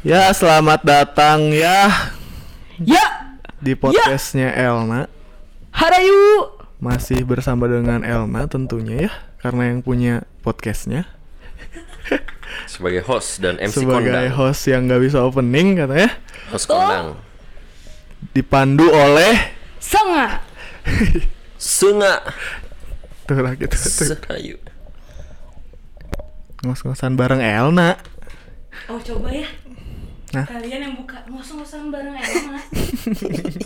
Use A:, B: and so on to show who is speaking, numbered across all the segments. A: Ya, selamat datang ya
B: Ya,
A: di podcastnya Elna.
B: Harayu.
A: Masih bersama dengan Elna tentunya ya, karena yang punya podcastnya.
C: sebagai host dan MC
A: Sebagai
C: kondang.
A: host yang nggak bisa opening katanya.
C: Host kondang.
A: Dipandu oleh...
B: Senga.
C: Sunga
A: Tuh lah gitu. tuh.
C: Serayu.
A: Ngos-ngosan bareng Elna.
B: Oh, coba ya.
A: Nah.
B: Kalian yang buka ngosong-ngosong bareng Elma.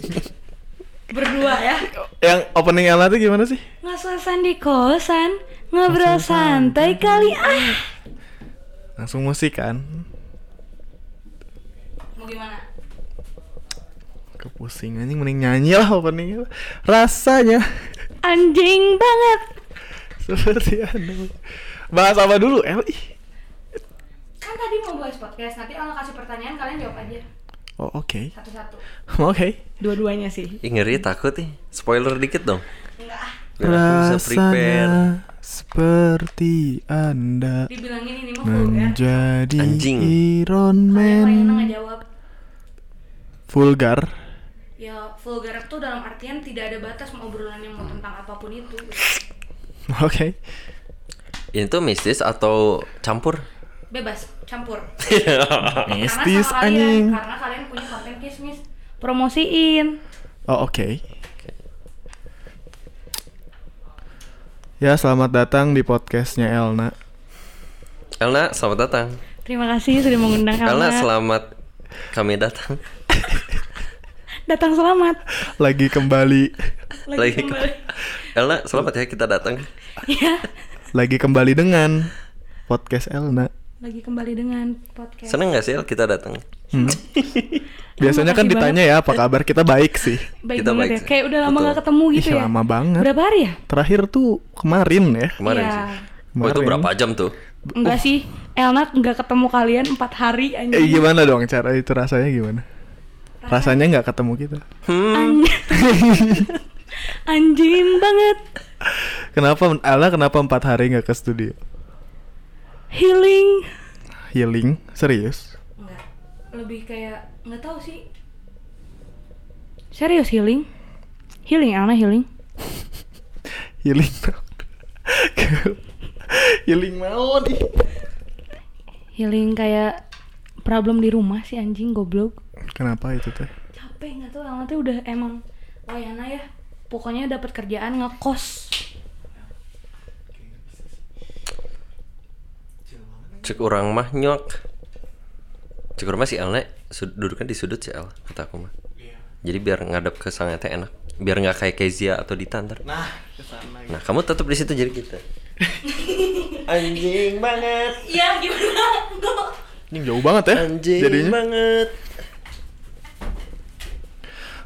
B: Berdua ya.
A: Yang opening Elna tuh gimana sih?
B: Ngos-ngosan di kosan, ngobrol santai kali ah.
A: Langsung musik kan?
B: Mau gimana?
A: Kepusing anjing, mending nyanyi lah openingnya. Rasanya
B: Anjing banget.
A: seperti anu. Bahas apa dulu, El? Ih.
B: Kan tadi mau bahas podcast, nanti Allah kasih pertanyaan kalian jawab aja
A: Oh, oke.
B: satu-satu.
A: Oke.
B: Dua-duanya sih.
C: Ih ngeri takut nih. Spoiler dikit dong.
B: Enggak ah.
C: Biar aku bisa prepare.
A: Rasanya seperti Anda
B: Dibilangin ini mau vulgar.
A: menjadi
C: Anjing.
A: Iron
B: Kalian
A: Man
B: pengen ngejawab.
A: vulgar.
B: Ya, vulgar tuh dalam artian tidak ada batas mau obrolan yang mau tentang apapun itu.
A: Oke.
C: Ini tuh mistis atau campur?
B: Bebas, campur.
A: Mistis
B: karena sama ya, kalian,
A: anjing.
B: karena kalian punya konten kismis promosiin
A: Oh, oke. Ya, selamat datang di podcastnya Elna.
C: Elna, selamat datang.
B: terima kasih sudah mengundang
C: Elna,
B: kalian
C: selamat kami datang.
B: datang selamat
A: Lagi kembali
B: lagi,
C: Lagi-
B: kembali
C: Elna, selamat ya kita datang.
B: ya
A: lagi kembali dengan podcast Elna.
B: lagi kembali dengan podcast
C: Seneng gak sih El kita datang?
A: Hmm. Biasanya kan
B: makasih
A: ditanya ya apa kabar kita baik sih.
B: baik
C: Kita
B: banget
C: baik
B: ya
C: sih.
B: kayak udah lama
C: Betul.
B: gak ketemu gitu
A: Ih,
B: ya
A: lama banget.
B: berapa hari ya
A: Terakhir tuh kemarin ya.
C: Kemarin
B: Iya.
C: sih. Oh, itu
A: Kemarin.
C: berapa jam tuh?
A: Uh.
B: enggak sih Elna nggak ketemu kalian empat hari anjing
A: Eh, gimana dong cara itu rasanya gimana? Rasanya nggak ketemu kita.
C: Hmm.
B: An- anjing banget
A: Kenapa Ala kenapa empat hari nggak ke studio?
B: healing
A: Healing serius?
B: Enggak. Lebih kayak nggak tahu sih. Serius healing? Healing, Alna healing.
A: Healing. healing mau nih.
B: Healing kayak problem di rumah sih anjing goblok.
A: Kenapa itu teh?
B: Capek nggak tuh Alna tuh udah emang wayana ya. Pokoknya dapat kerjaan ngekos.
C: Cek orang mah nyok. Cek rumah si Elna sud- duduknya di sudut si El, kata aku mah. Jadi biar ngadep ke sangnya teh enak. Biar nggak kayak Kezia atau Dita ntar.
A: Nah, kesana.
C: Nah, kamu tetap di situ jadi kita. Anjing banget.
B: Iya gimana? Enggak.
A: Ini jauh banget ya.
C: Anjing
A: Jadinya
C: banget.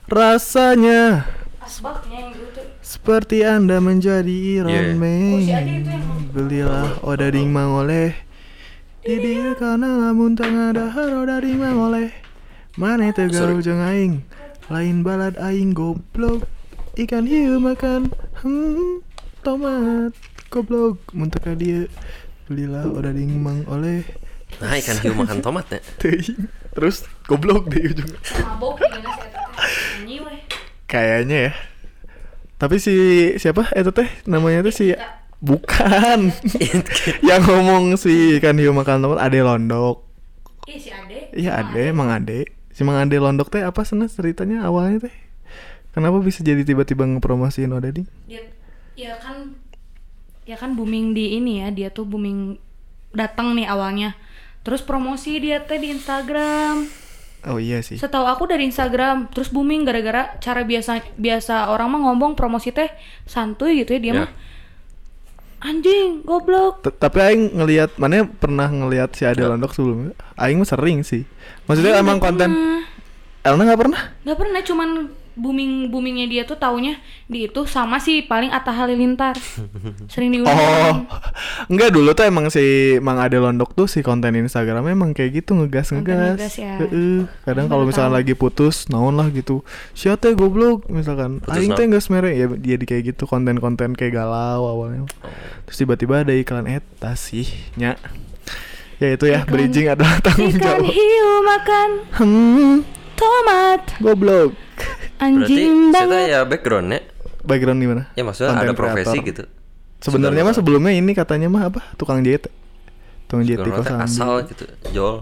A: rasanya
B: Asbaknya yang dulu tuh.
A: seperti anda menjadi Iron
C: Yeah.
A: Man.
B: Kursi aja Oh, itu yang-
A: Belilah oda ding mangoleh.
B: Iya.
A: Di dia karena lamun tengah dahar oda ding mangoleh. Mane tegal jeung aing. Lain balad aing goblok. Ikan hiu makan hmm tomat goblok mun teu ka dia. Belilah oda ding mangoleh.
C: Nah, ikan hiu makan tomatnya.
A: Teuing. Terus goblok di ujung.
B: Mabok gimana sih Eta teh? Nyanyi weh.
A: Kayaknya ya. Tapi si siapa? Itu teh namanya tuh si
B: Kita-
A: bukan yang ngomong si ikan hiu makan tomat Ade Londok.
B: Ih si Ade.
A: Iya
B: Ah.
A: Ade, Mang Ade. Si Mang Ade Londok teh apa sebenarnya ceritanya awalnya teh? Kenapa bisa jadi tiba-tiba ngepromosiin Oda Ding?
B: dia ya kan ya kan booming di ini ya dia tuh booming datang nih awalnya terus promosi dia teh di Instagram
A: Oh iya sih.
B: setahu aku dari Instagram terus booming gara-gara cara biasa biasa orang mah ngomong promosi teh santuy gitu ya dia
C: Ya.
B: mah anjing goblok
A: T- Tapi Aing ngelihat, mana pernah ngelihat si Ade Londok sebelumnya? Aing mah sering sih. Maksudnya emang konten
B: Nah,
A: Elna nggak pernah?
B: nggak pernah cuman booming boomingnya dia tuh taunya di itu sama sih paling Atta Halilintar sering
A: Oh,
B: diundang
A: enggak dulu tuh emang si Mang Ade Londok tuh si konten Instagramnya emang kayak gitu ngegas ngegas.
B: ngegas ya.
A: Heeh. Kadang
B: Aing
A: kalau
B: baru
A: misalnya
B: tahu.
A: lagi putus, naon lah gitu. Sia teh goblok misalkan.
C: Putus
A: Aing teh
C: naon?
A: geus mere ya dia di kayak gitu
C: Oh.
A: konten-konten kayak galau awalnya. Terus tiba-tiba ada iklan eta sih, nya. eh, ya itu ya bridging adalah tanggung
B: Ikan
A: jawab
B: hiu makan
A: hmm
B: tomat
A: goblok
C: Berarti
B: anjing
C: saya
B: banget.
C: ya backgroundnya
A: background gimana
C: ya maksudnya
A: Content
C: ada profesi
A: creator.
C: gitu.
A: sebenarnya mah sebelumnya ini katanya mah apa tukang jahit tukang jahit di
C: Background teh
A: kosan
C: asal gitu. Jol,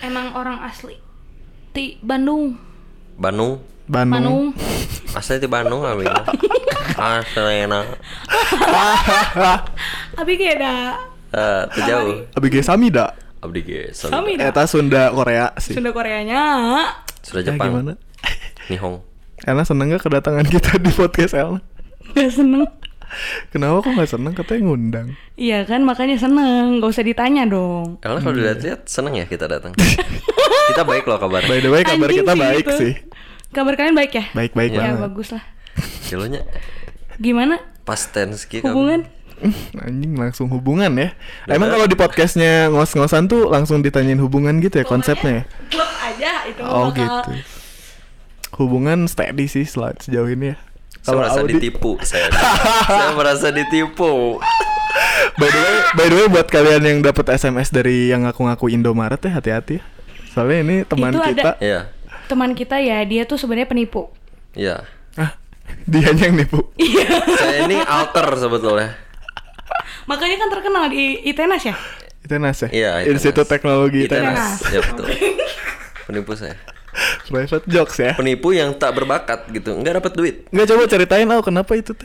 B: Emang orang asli di Bandung,
C: Bandung,
A: Bandung
B: Manung.
C: asli di Bandung abi. Asli enak.
B: Abi kayak ada
C: Eh, teu jauh.
A: ABG Samida
C: Abdi ge Sunda.
B: Sami dah.
A: Eta Sunda Korea sih
B: Sunda Koreanya.
C: Sudah
A: Ya,
C: Jepang.
A: gimana
C: Nihong.
A: Elna seneng gak kedatangan kita di podcast Elna
B: Gak seneng.
A: Kenapa kok gak seneng katanya ngundang
B: Iya kan makanya seneng, gak usah ditanya dong.
C: Elna kalau
A: Hmm.
C: dilihat-lihat seneng ya kita datang. kita baik loh kabar.
A: By the way kabar
B: Anjing
A: kita
B: sih
A: baik
B: gitu.
A: sih
B: Kabar kalian baik ya?
A: Baik-baik
C: Ya,
B: Ya
A: banget
B: bagus lah.
C: Jelonya
B: Gimana
C: past tense kieu Iya, kabar.
B: hubungan?
A: Anjing langsung hubungan ya Emang kalau di podcastnya ngos-ngosan tuh langsung ditanyain hubungan gitu ya konsepnya ya
B: Klub aja itu mah
A: Oh
B: bakal-
A: gitu Hubungan steady sih sel- sejauh ini ya
C: Saya merasa
A: Audi-
C: ditipu saya. saya merasa ditipu.
A: By the way, by the way buat kalian yang dapat SMS dari yang ngaku-ngaku Indomaret ya hati-hati ya. Soalnya ini teman
B: Itu ada.
A: kita.
C: Iya.
B: Teman kita ya, dia tuh sebenarnya penipu. Iya.
A: Hah?
C: Iya.
A: Ah, Dianya yang nipu.
C: Saya ini alter sebetulnya.
B: Makanya kan terkenal di ITENAS ya?
A: ITENAS ya?
C: Iya, ITENAS.
A: Institut Teknologi ITENAS.
C: ITENAS. Ya betul. Penipu saya.
A: Private jokes ya.
C: Penipu yang tak berbakat gitu, nggak dapat duit.
A: Enggak coba ceritain oh kenapa itu teh.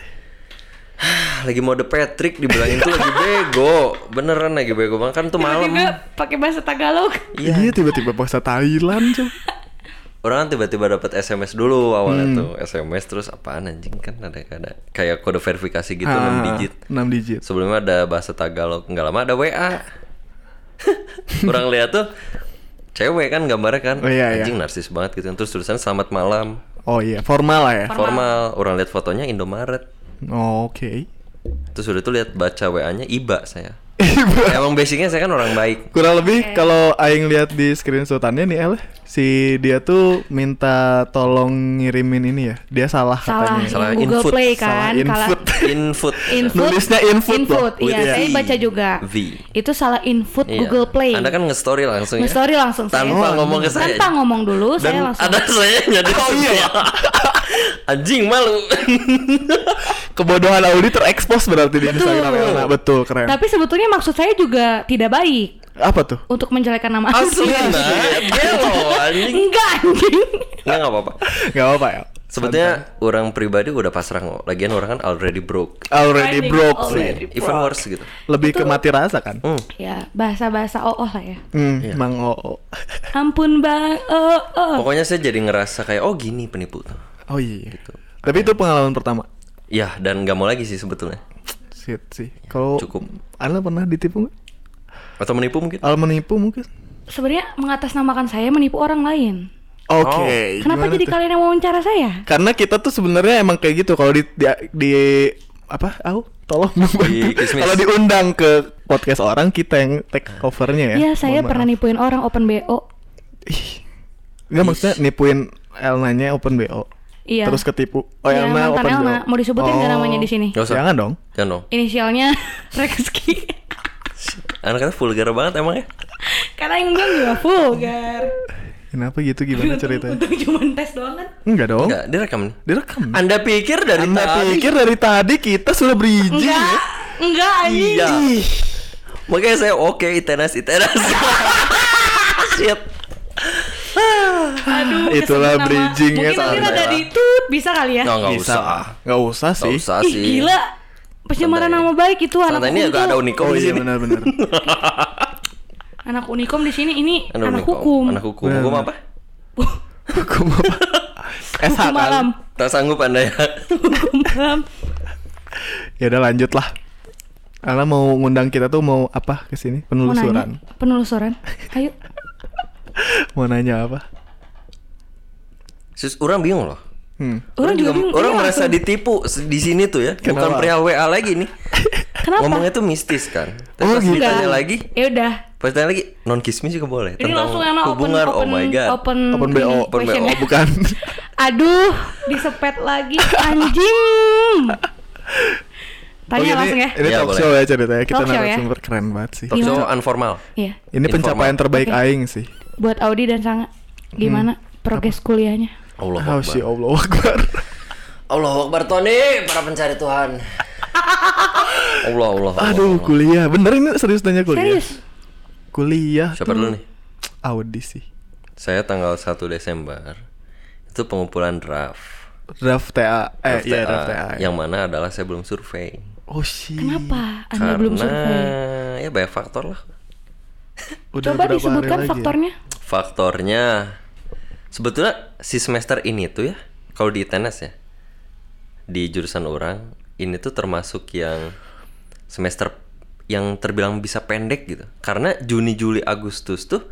C: Ah, Lagi mode Patrick dibilangin tuh lagi bego, beneran lagi bego banget kan tuh malam.
B: Tiba-tiba pakai bahasa Tagalog.
A: Iya, tiba-tiba bahasa Thailand coba.
C: Orang kan tiba-tiba dapat SMS dulu awalnya
A: Hmm.
C: tuh SMS terus apaan anjing kan ada ada kayak kode verifikasi gitu
A: Ah.
C: 6 digit.
A: 6 digit.
C: Sebelumnya ada bahasa Tagalog, nggak lama ada WA. Orang lihat tuh cewek kan gambarnya kan
A: Oh, iya, iya.
C: anjing narsis banget gitu terus tulisan selamat malam
A: Oh iya, formal lah ya.
C: formal, orang lihat fotonya Indomaret
A: Oh, Oke.
C: terus udah tuh lihat baca WA-nya iba saya
A: Ibu,
C: emang basicnya saya kan orang baik
A: Kurang lebih kalau aing lihat di screenshotannya nih El, si dia tuh minta tolong ngirimin ini ya. Dia salah,
B: Salah,
A: katanya.
C: Salah
B: yang Google
C: input.
B: Play
A: Salah
B: kan. kalah-
A: input.
C: input
B: Input.
A: Nulisnya input loh.
B: Input,
A: With
B: iya,
A: V.
B: saya baca juga.
C: V.
B: Itu salah input
C: Iya.
B: Google Play.
C: anda kan nge-story langsung ya
B: Nge-story langsung saya.
C: tanpa ngomong ke saya
B: Tanpa ngomong dulu,
C: dan
B: saya langsung.
C: ada saya jadi oh, anjing malu
A: Kebodohan Audi terekspos berarti di
B: Betul.
A: Instagram Elna. Betul, keren.
B: Tapi sebetulnya maksud saya juga tidak baik
A: Apa tuh?
B: untuk menjelekkan nama
C: asli
B: asli.
C: nah gelo anjing
B: Enggak anjing.
C: nggak nggak apa-apa
A: Gak apa-apa ya. El.
C: sebetulnya orang pribadi udah pasrah kok lagian orang kan already broke
A: Already Iya,
B: Already-
A: broke sih.
B: already.
C: even worse gitu
A: Lebih ke mati rasa kan?
C: hmm.
B: Ya, bahasa-bahasa oh lah ya.
A: Hmm, Mang Oo.
B: Ampun Bang. Oh, oh.
C: pokoknya saya jadi ngerasa kayak oh gini penipu tuh
A: Oh iya. Tapi itu pengalaman pertama.
C: ya dan nggak mau lagi sih sebetulnya
A: Shit sih. Kalau
C: cukup.
A: Elna pernah ditipu nggak?
C: atau menipu mungkin
A: Al menipu mungkin?
B: Sebenarnya mengatasnamakan saya menipu orang lain.
A: Oke.
B: Kenapa
A: Eh, gimana
B: jadi
A: tuh?
B: kalian yang wawancara saya?
A: Karena kita tuh sebenarnya emang kayak gitu kalau di, di, di- apa? Au, tolong
C: Di
A: membantu.
C: kismis. Nah.
A: Kalau diundang ke podcast orang kita yang take covernya ya.
B: Ya, saya pernah nipuin orang open BO.
A: Enggak maksudnya nipuin Elnanya open BO.
B: Iya.
A: Terus ketipu. Oh,
B: Iya,
A: Elna
B: mantan
A: open
B: Elna.
A: BO.
B: Mau disebutin nggak
A: Oh.
B: namanya di sini?
C: Nggak usah.
A: Jangan dong.
C: Jangan dong.
B: Inisialnya Rexki.
C: Anak-anak vulgar banget emang ya.
B: Karena yang bilang juga vulgar.
A: Kenapa gitu gimana ceritanya?
B: Untung cuma tes doang kan.
A: Enggak dong.
C: Enggak, direkam nih.
A: Direkam.
C: Anda pikir dari
A: Oh. Hmm. Anda
C: tadi?
A: pikir dari tadi kita sudah berizin
B: Enggak.
A: ya?
B: Enggak anjing.
C: Iya.
A: Ih,
C: Makanya saya oke itenas itenas. Shit.
B: Aduh,
A: Itulah
B: kesebut nama.
A: bridgingnya ya.
B: Mungkin nanti
C: santai
B: ada
C: lah.
B: di tut bisa kali ya.
C: Nggak nggak
A: bisa.
C: usah.
A: Nggak usah
C: Oh, Nggak
A: sih. Oh,
C: usah
B: Ih,
C: sih.
B: gila. Pencemaran
C: Santai.
B: nama baik itu anak
C: Santai ini
B: hukum.
C: agak ada unikom
A: Oh
C: di
A: iya
C: sini.
A: benar-benar.
B: Anak unikom di sini ini
C: Ada
B: anak
C: unikom.
B: hukum.
C: Anak hukum.
A: Benar.
C: Hukum apa?
A: Hukum apa? SH
B: Hukum
A: kan?
B: malam.
C: Tak sanggup Anda ya.
B: Hukum malam.
A: Ya udah lanjut lah. Ala mau ngundang kita tuh mau apa ke sini?
B: Mau nanya
A: Penelusuran.
B: penelusuran. Ayo.
A: Mau nanya apa?
C: Sus, orang bingung loh.
A: Hmm.
B: Orang juga bingung,
C: orang
B: iya,
C: merasa
B: langsung.
C: ditipu s- di sini tuh ya. Bukan
A: Kenapa?
C: perihal WA lagi nih.
B: Kenapa?
C: Ngomongnya tuh mistis kan. Tapi
A: Oh,
C: pas
A: gitu.
C: ditanya lagi,
B: Ya udah.
C: pas ditanya lagi non kismis juga boleh.
B: Ini
C: Tentang
B: langsung yang open
C: hubungan.
B: open
C: oh my god.
B: open,
A: Open
B: ini
A: BO,
C: open Oh,
B: question ya.
C: BO,
A: Oh, bukan.
B: Aduh, disepet lagi anjing.
A: Oh,
B: Tanya
A: ini,
B: langsung ya.
A: Ini
C: Iya,
A: talk
C: boleh.
A: show ya ceritanya. Kita
B: Talk show ya.
A: narasumber keren banget sih.
C: Talk show
B: Gimana?
C: informal.
B: Iya.
A: Ini pencapaian
C: Informal.
A: terbaik
B: Oke.
A: aing sih.
B: Buat Audi dan Sanga,
A: Hmm.
B: gimana progres kuliahnya?
C: Allah
A: Oh,
C: Akbar.
A: si Allah Akbar.
C: Allah Akbar Tony, para pencari Tuhan. Allah Allah. Allah,
A: Aduh,
C: Allah.
A: kuliah. Bener ini serius tanya kuliah.
B: Serius?
A: Kuliah tuh
C: Siapa dulu nih?
A: Audi sih.
C: Saya tanggal 1 Desember itu pengumpulan draft.
A: Draft TA. Eh, iya draft TA.
C: Yang mana adalah saya belum survei.
A: Oh, shit.
B: Kenapa Anda Ah, belum survei?
C: Karena ya banyak faktor lah.
A: Udah
B: Coba
A: berapa hari
B: disebutkan
A: lagi ya?
B: faktornya.
C: Faktornya sebetulnya si semester ini tuh ya kalau di ITNS ya di jurusan orang ini tuh termasuk yang semester yang terbilang bisa pendek gitu karena Juni Juli Agustus tuh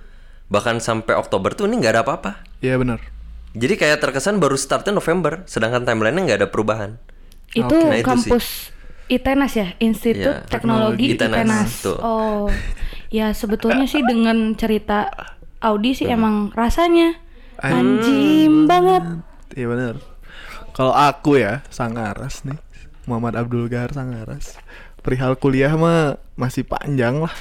C: bahkan sampai Oktober tuh ini nggak ada apa-apa
A: Iya, bener.
C: jadi kayak terkesan baru startnya November sedangkan timelinenya nggak ada perubahan
A: Ah,
B: Itu
C: Nah, itu sih.
B: kampus ITENAS ya, Institut
C: Iya,
B: Teknologi
C: Teknologi
B: ITENAS.
C: ITENAS, betul.
B: Oh, ya sebetulnya sih dengan cerita Audi sih emang rasanya anjing banget.
A: Iya, bener. Kalau aku ya, Sangaras nih. Muhammad Abdul Ghar Sangaras. Perihal kuliah mah masih panjang lah.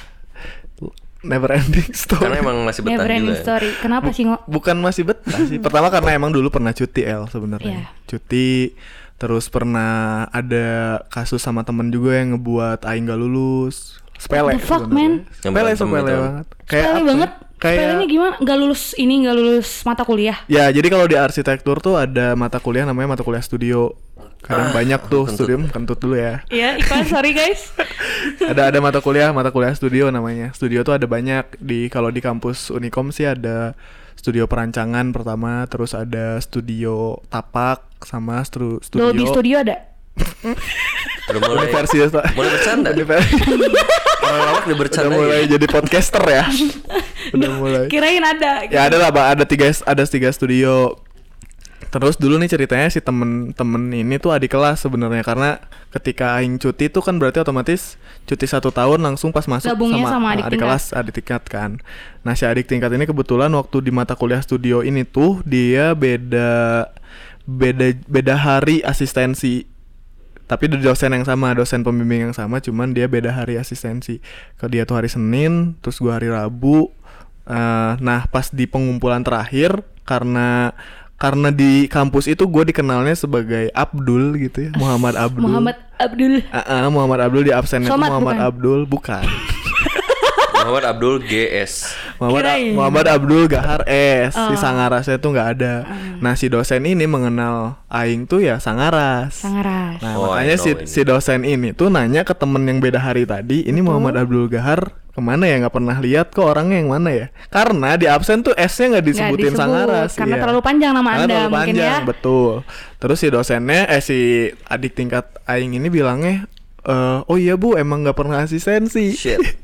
A: Never ending story.
C: karena emang masih
B: Never
C: betah juga
B: ending
C: ya.
B: story. Kenapa sih ngo?
A: bukan masih betah sih. Pertama karena emang dulu pernah cuti El sebenarnya.
B: Iya.
A: Cuti terus pernah ada kasus sama temen juga yang ngebuat aing gak luluh. Sepele
B: What the fuck,
A: sebenarnya.
B: man?
A: Sepele
C: Yang berantem
A: sepele
C: itu.
A: banget. Kayak
B: Kayak
A: apa? ya?
B: banget.
A: Kayak
B: Kayak gimana? Gak lulus ini, gak lulus mata kuliah.
A: Ya, jadi kalau di arsitektur tuh ada mata kuliah namanya mata kuliah studio. Kadang banyak tuh studium kentut dulu ya.
B: Iya, iklan sorry guys.
A: ada ada mata kuliah mata kuliah studio namanya studio tuh ada banyak di kalau di kampus Unikom sih ada studio perancangan pertama terus ada studio tapak sama stru, studio
B: Dolby Studio ada?
C: udah mulai
A: Universitas
C: mulai bercanda
A: Univer-
C: orang lawak udah
A: udah
C: bercanda
A: mulai
C: ya.
A: jadi podcaster ya udah mulai
B: Kirain ada.
A: ya ada lah Pak. ada tiga ada tiga studio terus dulu nih ceritanya si temen-temen ini tuh adik kelas sebenarnya karena ketika aing cuti tuh kan berarti otomatis cuti satu tahun langsung pas masuk
B: Gabungnya sama adik tingkat.
A: kelas adik tingkat kan nah si adik tingkat ini kebetulan waktu di mata kuliah studio ini tuh dia beda beda beda hari asistensi tapi di dosen yang sama dosen pembimbing yang sama cuman dia beda hari asistensi kalau dia tuh hari Senin terus gua hari Rabu Eh, nah pas di pengumpulan terakhir karena karena di kampus itu gue dikenalnya sebagai Abdul gitu ya Muhammad Abdul
B: Muhammad Abdul.
A: Ah, ah, Muhammad Abdul di absennya tuh
B: Somad,
A: Muhammad
B: bukan?
A: Abdul bukan
C: Muhammad Abdul GS
A: Muhammad,
B: Kirain. Oh.
A: Muhammad Abdul Gahar S si Sangarasnya tuh nggak ada
B: Ah.
A: nah si dosen ini mengenal Aing tuh ya Sangaras
B: Sangaras.
A: Nah,
C: Oh, I
A: makanya si,
C: know ini.
A: si dosen ini tuh nanya ke temen yang beda hari tadi, ini Muhammad Abdul Gahar kemana ya nggak pernah lihat kok orangnya yang mana ya? Karena di absen tuh S-nya nggak disebutin
B: disebut,
A: Sangaras.
B: karena
A: iya.
B: terlalu panjang nama
A: Karena
B: Anda
A: terlalu
B: mungkin
A: panjang,
B: ya.
A: Betul. Terus si dosennya, eh si adik tingkat Aing ini bilangnya, "Eh, oh iya bu, emang nggak pernah asistensi.
C: shit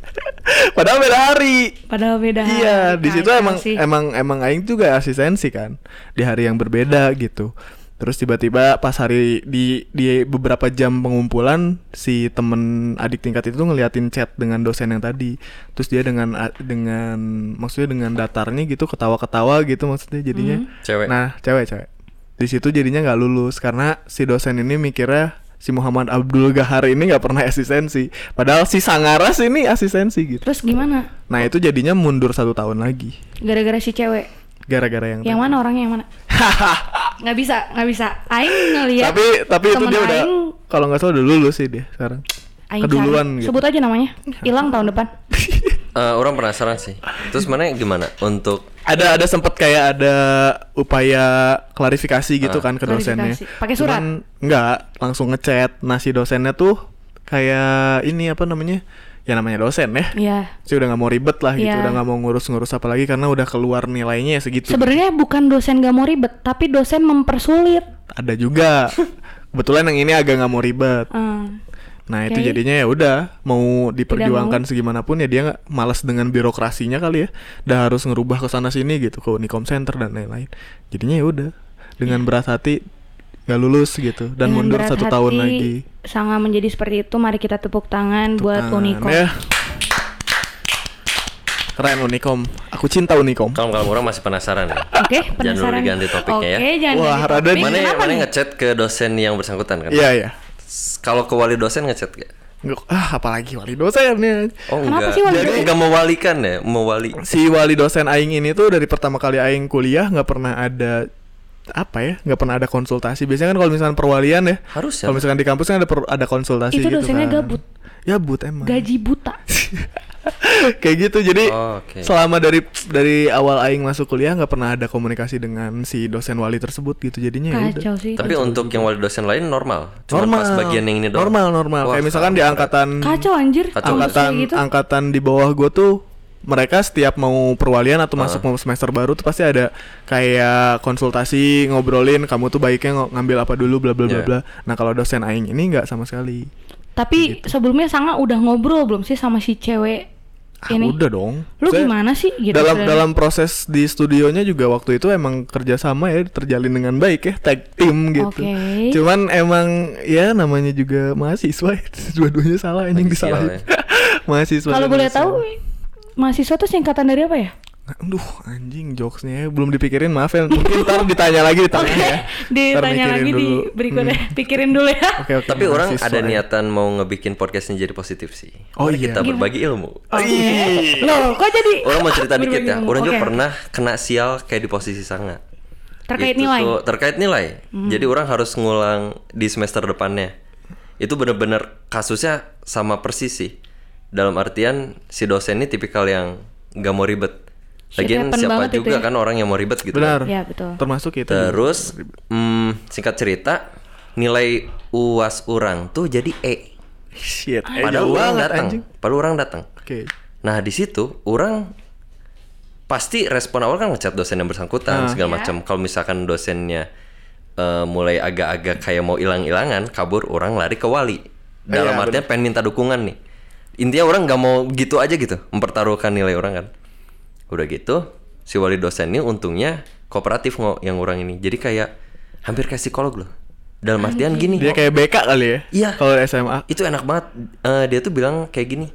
A: Padahal beda hari.
B: Padahal beda.
A: Iya,
B: hari.
A: di
B: Nah,
A: situ
B: itu
A: emang
B: sih.
A: emang emang aing juga asistensi kan di hari yang berbeda gitu. Terus tiba-tiba pas hari di di beberapa jam pengumpulan si temen adik tingkat itu ngeliatin chat dengan dosen yang tadi. Terus dia dengan a- dengan maksudnya dengan datarnya gitu ketawa-ketawa gitu maksudnya jadinya.
C: Cewek.
A: Nah, cewek-cewek. Di situ jadinya nggak lulus karena si dosen ini mikirnya si Muhammad Abdul Gahar ini nggak pernah asistensi. Padahal si Sangaras ini asistensi gitu.
B: Terus gimana?
A: Nah itu jadinya mundur satu tahun lagi
B: Gara-gara si cewek.
A: gara-gara yang,
B: Yang mana orangnya yang mana? nggak bisa, nggak bisa. Aing ngeliat.
A: tapi tapi itu
B: temen
A: dia udah
B: Aing,
A: kalau nggak salah udah lulus sih dia sekarang
B: Aing
A: keduluan
B: cari.
A: gitu.
B: Sebut aja namanya. Hilang tahun depan.
C: Eh, orang penasaran sih terus mana gimana untuk
A: ada ada sempet kayak ada upaya klarifikasi gitu
C: Ah.
A: kan ke dosennya
B: Klarifikasi. Pakai surat?
A: Cuman nggak langsung ngechat nah si dosennya tuh kayak ini apa namanya ya namanya dosen ya
B: Iya.
A: sih udah nggak mau ribet lah gitu
B: Iya.
A: udah nggak mau ngurus-ngurus apalagi karena udah keluar nilainya ya segitu
B: Sebenarnya bukan dosen gak mau ribet, tapi dosen mempersulit.
A: ada juga kebetulan yang ini agak nggak mau ribet
B: Eh,
A: Nah itu
B: Oke.
A: jadinya ya udah mau diperjuangkan segimanapun ya dia nggak malas dengan birokrasinya kali ya, udah harus ngerubah ke sana sini gitu ke Unicom Center dan lain-lain. Jadinya ya udah dengan berat hati nggak lulus gitu dan
B: Iya. dengan
A: mundur
B: berat
A: satu tahun
B: hati,
A: lagi.
B: Sangat menjadi seperti itu. Mari kita tepuk tangan buat
A: Nah,
B: Unico.
A: ya. Keren Unicom, aku cinta Unicom.
C: kalau kalau orang masih penasaran ya
B: Oke,
C: dulu
B: penasaran.
C: diganti topiknya ya.
B: Oke, jangan
A: Wah,
B: ganti
A: Raden.
B: topik.
C: mana
B: Kenapa
C: mana
B: nih?
C: ngechat ke dosen yang bersangkutan kan
A: Iya ya.
C: S- Kalau ke wali dosen ngechat gak?
A: Nggak- ah apalagi wali dosennya
C: Oh
B: Kenapa
C: enggak.
B: sih wali
C: Jadi
B: dosen?
C: enggak mewalikan ya, mewali.
A: si wali dosen aing ini tuh dari pertama kali aing kuliah nggak pernah ada apa ya nggak pernah ada konsultasi biasanya kan kalau misalkan perwalian ya
C: Harus ya.
A: kalau misalkan di kampus kan ada per- ada konsultasi
B: Itu
A: gitu
B: dosennya
A: kan.
B: gabut.
A: gabut emang
B: Gaji buta.
A: Ya kayak gitu jadi
C: Oh, oke.
A: selama dari dari awal aing masuk kuliah nggak pernah ada komunikasi dengan si dosen wali tersebut gitu jadinya ya udah
B: Kacau sih.
C: Tapi untuk yang wali dosen lain normal. Cuma
A: normal
C: pas bagian yang ini doang.
A: normal normal
C: Wah,
A: kayak misalkan di
C: kampret.
A: angkatan
B: Kacau anjir.
C: Kacau.
B: kampus
A: Hmm. angkatan
B: kayak gitu.
A: angkatan di bawah gue tuh mereka setiap mau perwalian atau masuk
B: Ah.
A: mau semester baru tuh pasti ada kayak konsultasi ngobrolin kamu tuh baiknya ng- ngambil apa dulu bla bla bla
C: Iya.
A: bla. Nah kalau dosen aing ini nggak sama sekali.
B: Tapi
A: gitu.
B: sebelumnya Sanga udah ngobrol belum sih sama si cewek
A: Ah,
B: ini?
A: udah dong.
B: Lu
A: Saya-
B: gimana sih gitu?
A: dalam
B: sebenarnya?
A: dalam proses di studionya juga waktu itu emang kerjasama ya terjalin dengan baik ya tag team gitu.
B: Oke.
A: Cuman emang ya namanya juga mahasiswa ya. dua-duanya salah ini yang
C: Lagi sial
A: disalahin. mahasiswa.
B: ya. Kalau
A: dan
B: boleh
A: mahasiswa.
B: tahu mahasiswa tuh singkatan dari apa ya?
A: Aduh anjing jokesnya ya. belum dipikirin maaf ya mungkin ntar ditanya lagi ditanya ya. Ntar
B: ditanya
A: mikirin
B: lagi di
A: dulu.
B: berikutnya.
A: Hmm.
B: Pikirin dulu ya.
A: Oke oke.
C: Tapi orang
A: mahasiswa
C: ada
A: ya.
C: niatan mau ngebikin podcastnya jadi positif sih.
A: Oh,
C: Mari
A: iya.
C: Kita
A: Gimana?
C: berbagi ilmu.
A: Oh,
B: Oh,
A: iya.
B: iya.
A: Ih,
C: Iya.
B: Loh, kok jadi
C: Orang mau cerita dikit
B: Berbagi
C: ya.
B: ilmu,
C: Orang juga
B: oke.
C: pernah kena sial kayak di posisi sangat.
B: terkait
C: Itu
B: nilai? Hmm.
C: tuh terkait nilai. Jadi orang harus ngulang di semester depannya. Itu bener-bener kasusnya sama persis sih. Dalam artian si dosen ini tipikal yang nggak mau ribet.
B: Shit
C: Lagian
B: happen banget
C: siapa
B: itu
C: juga
B: ya.
C: kan orang yang mau ribet gitu.
A: Benar. gitu.
B: Ya, betul.
A: Termasuk kita.
C: Terus mm, singkat cerita nilai UAS orang tuh jadi E.
A: Shit. eh,
C: Padahal
A: jauh
C: orang
A: banget,
C: datang.
A: anjing.
C: Padahal orang datang.
A: Oke.
C: Nah di situ orang pasti respon awal kan ngechat dosen yang bersangkutan
A: Hmm.
C: segala macam. Kalau misalkan dosennya eh, mulai agak-agak kayak mau hilang-hilangan, kabur orang lari ke wali. Dalam
A: iya,
C: artian pengen minta dukungan nih. Intinya orang nggak mau gitu aja gitu, mempertaruhkan nilai orang kan. Udah gitu, si wali dosen ini untungnya kooperatif ngo yang orang ini. Jadi kayak hampir kayak psikolog loh. Dalam artian gini.
A: Dia kayak BK kali ya.
C: Iya.
A: Kalau SMA.
C: Itu enak banget. Eh, dia tuh bilang kayak gini.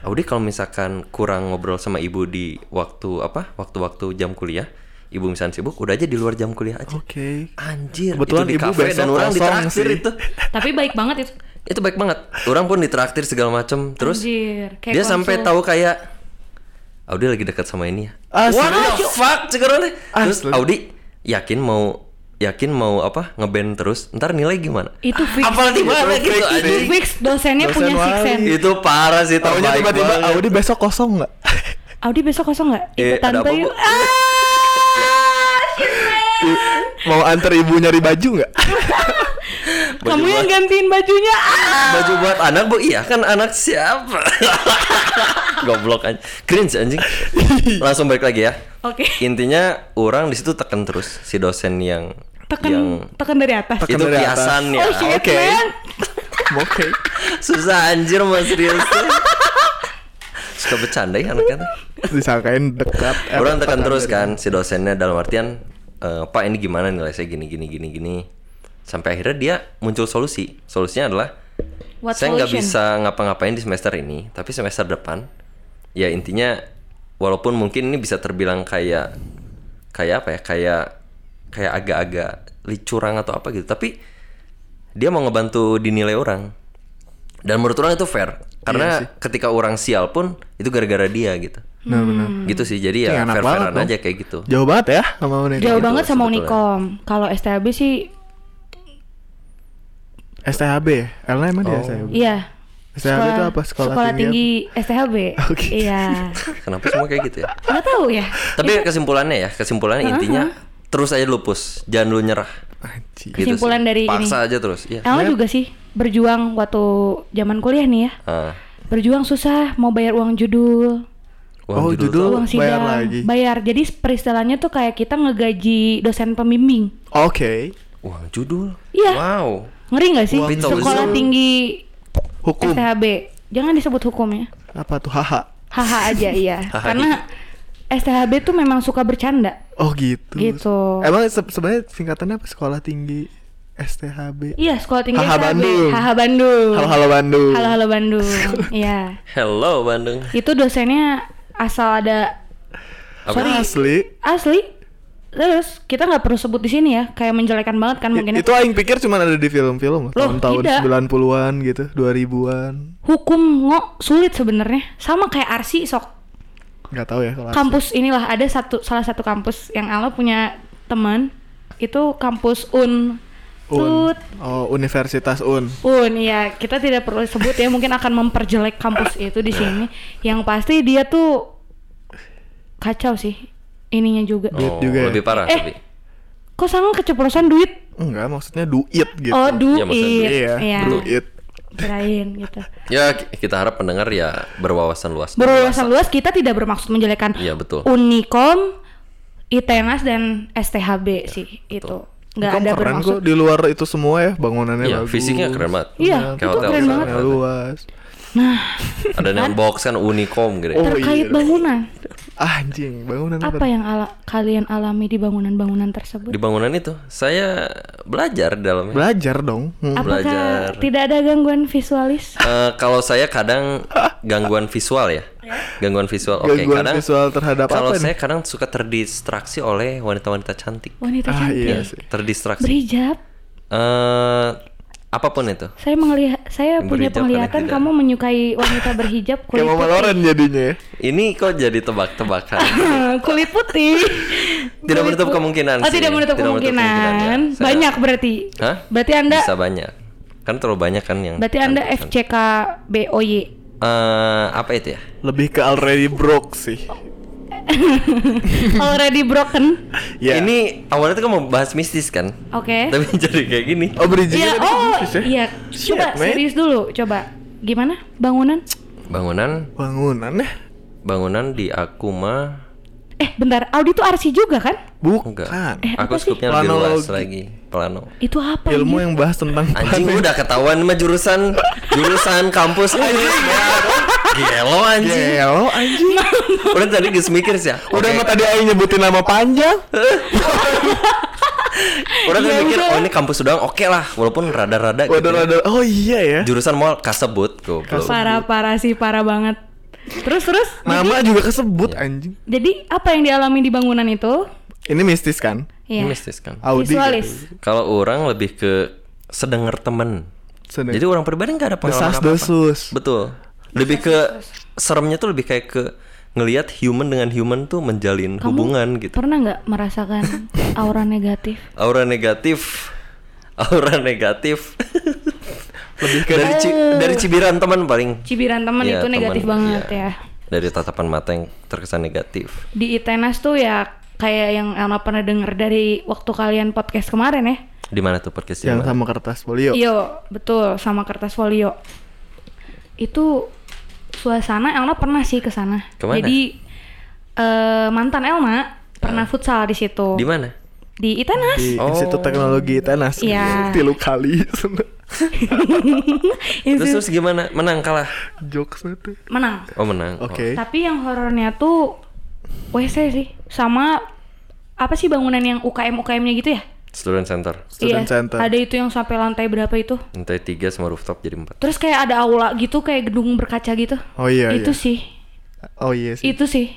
C: Audi kalau misalkan kurang ngobrol sama ibu di waktu apa? Waktu-waktu jam kuliah, ibu misalkan sibuk, udah aja di luar jam kuliah aja.
A: Oke.
C: Anjir,
A: Kebetulan
C: itu di
A: ibu
C: kafe
A: besok
C: dan orang
A: kosong
C: ditraktir
A: sih.
C: itu.
B: Tapi baik banget itu.
C: Itu baik banget. Orang pun ditraktir segala macem Terus
B: Anjir, kayak
C: dia
B: konsul.
C: sampai tahu kayak Audi lagi dekat sama ini ya.
A: Ah,
C: What
A: serius?
C: the fuck sekarang Terus
A: Asli.
C: Audi yakin mau yakin mau apa ngeband terus ntar nilai gimana
B: Itu fix.
C: apalagi mana
A: Itu fix
C: gitu
A: sih.
C: anjing.
B: Fix dosennya
A: Dosen
B: punya six
A: wali.
B: sense.
C: itu parah sih
A: Taunya
C: terbaik
A: tiba-tiba
C: banget.
A: Audi besok kosong nggak?
B: Audi besok kosong nggak?
C: Eh,
B: Ikutan
C: ada apa,
B: tuh yuk.
C: Bu?
B: Ah, shit, man.
A: Mau antar ibu nyari baju nggak?
C: Baju
B: Kamu yang
C: buat-
B: gantiin bajunya. Ah.
C: baju buat anak bu iya kan anak siapa goblok anjing cringe anjing langsung balik lagi ya
B: Oke.
C: intinya orang di situ tekan terus si dosen yang
B: Tekan
C: yang
B: tekan dari atas.
A: Tekan
C: itu ya.
A: dari atas.
C: kiasannya
B: oh shit,
A: oke.
B: man.
A: Oke.
C: susah anjir mas serius suka bercanda ya anaknya tuh.
A: Disangkain dekat. eh,
C: orang tekan terus
A: dari-
C: kan si dosennya dalam artian "Eh, pak ini gimana nilai saya gini gini gini gini sampai akhirnya dia muncul solusi solusinya adalah
B: What
C: saya nggak
B: solution?
C: bisa ngapa-ngapain di semester ini tapi semester depan ya intinya walaupun mungkin ini bisa terbilang kayak kayak apa ya kayak kayak agak-agak licurang atau apa gitu tapi dia mau ngebantu dinilai orang dan menurut orang itu fair karena ketika orang sial pun itu gara-gara dia gitu
A: Nah
B: Hmm.
A: benar.
C: gitu sih jadi
A: Kayak
C: ya
A: enak
C: fair
A: banget
C: fairan
A: dong.
C: aja kayak gitu
A: Jauh banget ya sama Audi.
B: Jauh
C: gitu
B: banget sama
C: sebetulnya.
B: Unicom. Kalau STLB sih
A: STHB ya? Elna emang
C: Oh.
A: dia STHB?
B: iya.
A: STHB itu apa? Sekolah,
B: tinggi, STHB.
A: Oke.
B: Iya.
C: kenapa semua kayak gitu ya
B: Enggak tahu ya.
C: tapi
A: Iya.
C: kesimpulannya ya kesimpulannya intinya terus aja lupus jangan lu nyerah
A: apa? Anjing.
C: Gitu
B: Kesimpulan
C: sih.
B: dari ini.
C: paksa aja terus iya
B: Elma juga sih berjuang waktu zaman kuliah nih ya.
C: Ah,
B: Berjuang susah mau bayar uang judul,
C: uang
A: Oh,
C: judul,
A: judul.
C: tuh-
B: uang sidang,
A: bayar lagi.
B: bayar. Jadi peristilahnya tuh kayak kita ngegaji dosen pembimbing.
A: Oke.
C: uang judul
B: Iya.
C: wow
B: Ngeri nggak sih?
C: Uang judul.
B: Sekolah tinggi
A: Hukum.
B: STHB. Jangan disebut hukum ya.
A: Apa tuh? Haha.
B: Haha aja iya. Karena STHB tuh memang suka bercanda.
A: Oh gitu.
B: Gitu.
A: Emang se- sebenarnya singkatannya apa? Sekolah tinggi STHB.
B: Iya, sekolah tinggi
A: Haha
B: STHB.
A: Bandung.
B: Haha Bandung.
A: Halo halo Bandung.
B: Halo halo Bandung. Iya.
C: hello Bandung
B: Itu dosennya asal ada
A: Sorry.
C: Apa?
A: Asli.
B: asli terus kita nggak perlu sebut di sini ya kayak menjelekan banget kan mungkin ya.
A: Itu aing pikir cuma ada di film-film tahun-tahun
B: tidak.
A: 90-an gitu, 2000-an.
B: hukum ngok sulit sebenarnya sama kayak arsi sok
A: Gak tahu ya kalau
B: kampus inilah ada satu salah satu kampus yang Allah punya teman itu kampus un
A: Un.
B: Tut.
A: Oh, Universitas Un.
B: Un ya kita tidak perlu sebut ya mungkin akan memperjelek kampus itu di sini yang pasti dia tuh kacau sih ininya juga
A: Duit juga ya?
C: Oh, lebih parah
B: Eh,
C: tapi
B: kok sangat keceplosan duit
A: Enggak, maksudnya duit gitu.
B: oh duit
C: Iya, maksudnya duit.
A: Iya,
B: Iya.
A: duit.
B: kirain gitu
C: ya ki- kita harap pendengar ya berwawasan luas
B: berwawasan luas kita tidak bermaksud menjelekan
C: iya betul
B: Unikom ITNAS dan STHB
C: Iya,
B: sih itu nggak
A: Kamu
B: ada
A: keren
B: bermaksud
A: kok di luar itu semua ya bangunannya
C: Iya,
A: bagus.
C: fisiknya keren banget.
B: Iya,
C: Kayak
B: itu
C: hotel
B: keren
C: gitu.
B: banget.
A: Bangunannya luas.
C: Ada yang box kan unicorn gitu.
A: Oh,
B: Nah, terkait
A: iya.
B: bangunan
A: Ah, Anjing, bangunan
B: apa ya? yang ala- kalian alami di bangunan-bangunan tersebut
C: Di bangunan itu saya belajar di dalamnya.
A: Belajar dong. Hmm.
B: apakah
C: belajar.
B: tidak ada gangguan visualis
C: Eh, kalau saya kadang gangguan visual ya. Gangguan visual. Oke,
A: Gangguan
C: kadang
A: visual terhadap
C: kalau
A: apa
C: saya
A: nih?
C: kadang suka terdistraksi oleh wanita-wanita cantik.
B: wanita
A: Ah,
B: cantik
A: iya sih.
C: Terdistraksi.
B: berhijab
C: Eh apapun itu.
B: saya melihat saya
C: Yang
B: punya
C: berhijab kalian
B: penglihatan
C: tidak.
B: kamu menyukai wanita berhijab
A: Kayak
B: kulit
A: Mama
B: putih
A: Loren jadinya ya.
C: Ini kok jadi tebak-tebakan.
B: kulit putih
C: Tidak menutup kemungkinan
B: oh,
C: sih.
B: tidak menutup
C: Tidak menutup
B: kemungkinan,
C: kemungkinan, ya. Saya-
B: banyak berarti
C: Hah?
B: berarti anda
C: Bisa banyak. Kan terlalu banyak kan yang
B: berarti anda FCK BOY
C: Eh, apa itu ya?
A: Lebih ke already broke sih.
B: already broken
A: Ya.
C: Ini awalnya tuh kan mau bahas mistis kan.
B: oke
C: Tapi jadi kayak gini.
A: oh bridgingnya
B: Iya,
A: tadi
B: oh,
A: bagus ya.
B: iya.
A: Shit,
B: Coba
A: mate.
B: serius dulu, coba. Gimana bangunan?
C: Bangunan
A: Bangunan ya?
C: bangunan di aku mah
B: Eh, bentar. Audi itu RC juga kan?
A: Bukan.
C: enggak.
B: Eh, apa
C: aku
B: sih?
C: skupnya lebih luas
A: Planologi.
C: lagi. Plano.
B: Itu apa? ya?
A: Ilmu
B: anjir?
A: yang bahas tentang
C: Anjing
A: planet.
C: udah ketahuan mah jurusan jurusan kampus anjing. Gelo anjing.
A: Gelo anjing.
B: Nah.
C: Udah tadi geus mikir sih. ya.
A: Iya, Udah
C: Oke.
A: mah tadi aing nyebutin nama panjang.
C: Udah tadi
B: Ya
C: mikir
B: udah.
C: oh ini kampus doang oke lah walaupun rada-rada gitu.
A: Iya, Waduh, waduh. Oh iya ya.
C: Jurusan mall kasebut goblok.
B: parah parah sih, parah banget. Terus terus.
A: Nama juga kesebut
C: Iya.
A: anjing.
B: Jadi apa yang dialami di bangunan itu?
A: Ini mistis kan?
B: Ya.
C: Mistis kan.
A: Audi.
B: Visualis.
C: Kalau orang lebih ke sedengar temen.
A: Sedang.
C: Jadi orang pribadi nggak ada pengalaman
A: desas
C: apa-apa.
A: desus.
C: Betul. Lebih ke seremnya tuh lebih kayak ke ngelihat human dengan human tuh menjalin hubungan gitu.
B: Pernah nggak merasakan aura negatif?
C: Aura negatif. Aura negatif.
A: Lebih ke
C: dari ci- dari cibiran teman paling.
B: Cibiran teman
C: Iya,
B: itu negatif
C: teman,
B: banget
C: iya.
B: ya.
C: Dari tatapan mata yang terkesan negatif.
B: Di ITENAS tuh ya kayak yang Elma pernah denger dari waktu kalian podcast kemarin ya.
C: Di mana tuh podcast
A: yang
C: di mana?
A: sama kertas polio.
B: Iya, betul sama kertas folio. Itu suasana Elma pernah sih ke sana.
C: Kemana?
B: Jadi eh, mantan Elma pernah futsal di situ.
C: Ah. Di mana?
B: Di ITENAS.
A: Di
C: Oh.
A: Institut Teknologi Tenas.
B: Iya.
A: Tilu kali.
C: Terus
B: Itu
C: terus gimana? Menang kalah.
A: Jokes itu.
B: menang.
C: Oh, menang. Oh.
A: Oke.
B: Tapi yang horornya tuh WC sih sama apa sih bangunan yang UKM UKM-nya gitu ya? Iya,
C: Student center.
A: Student center.
B: Ada itu yang sampai lantai berapa itu?
C: Lantai 3 sama rooftop jadi 4.
B: Terus kayak ada aula gitu kayak gedung berkaca gitu.
A: Oh iya.
B: itu
A: iya.
B: sih.
A: Oh iya sih.
B: Itu sih.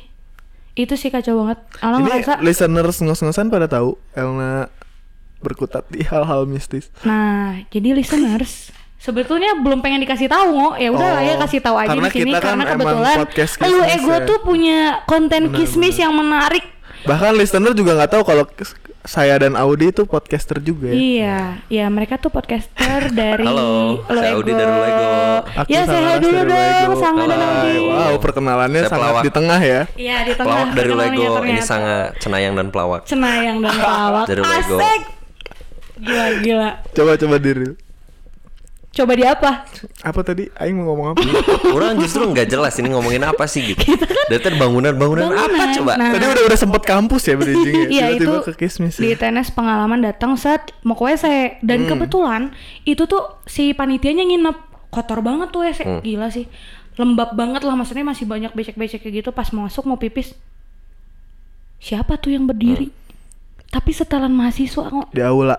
B: Itu sih kacau banget. Alang
A: Ini
B: ngerasa
A: listeners ngos-ngosan pada tahu Elna berkutat di hal-hal mistis.
B: Nah, jadi listeners sebetulnya belum pengen dikasih tahu ngo ya udah lah ya
A: Oh,
B: kasih tahu aja
A: karena
B: di sini
A: kita kan
B: karena
A: emang
B: kebetulan
A: podcast
B: lu
A: kismis
B: eh gue
A: ya.
B: tuh punya konten kismis yang menarik
A: Bahkan listener juga nggak tahu kalau kes- saya dan Audi itu podcaster juga ya.
B: iya ya mereka tuh podcaster dari
C: Halo, saya Audi dari Lu Ego.
A: Aku
B: ya
A: sama
B: sehat
A: Ras
B: dulu
A: dari
B: dong
A: Lego.
B: sangat dan
C: Hai,
B: Audi
A: Wow, perkenalannya
C: Saya
A: sangat
C: pelawak.
A: di tengah ya.
B: iya di tengah
C: Pelawak dari
B: perkenalannya
C: Lego ini
B: ternyata.
C: sangat Cenayang dan Pelawak.
B: Cenayang dan pelawak
C: Dari Lego.
B: asik gila gila
A: Coba-coba diri.
B: coba di apa
A: Apa tadi? Aing mau ngomong apa?
C: Orang justru nggak jelas ini ngomongin apa sih gitu. Dari tadi bangunan-bangunan apa
B: kan Bangunan.
C: coba?
B: Nah.
A: tadi udah udah sempet kampus ya bridging ya.
B: Iya itu
A: Tiba-tiba ke kismis ya.
B: di tenis pengalaman datang set mau ke WC
A: Hmm.
B: dan kebetulan itu tuh si panitianya nginep kotor banget tuh WC
A: Hmm.
B: gila sih lembab banget lah maksudnya masih banyak becek-becek kayak gitu pas mau masuk mau pipis siapa tuh yang berdiri
A: Hmm.
B: tapi setelan mahasiswa ngo
A: Di aula.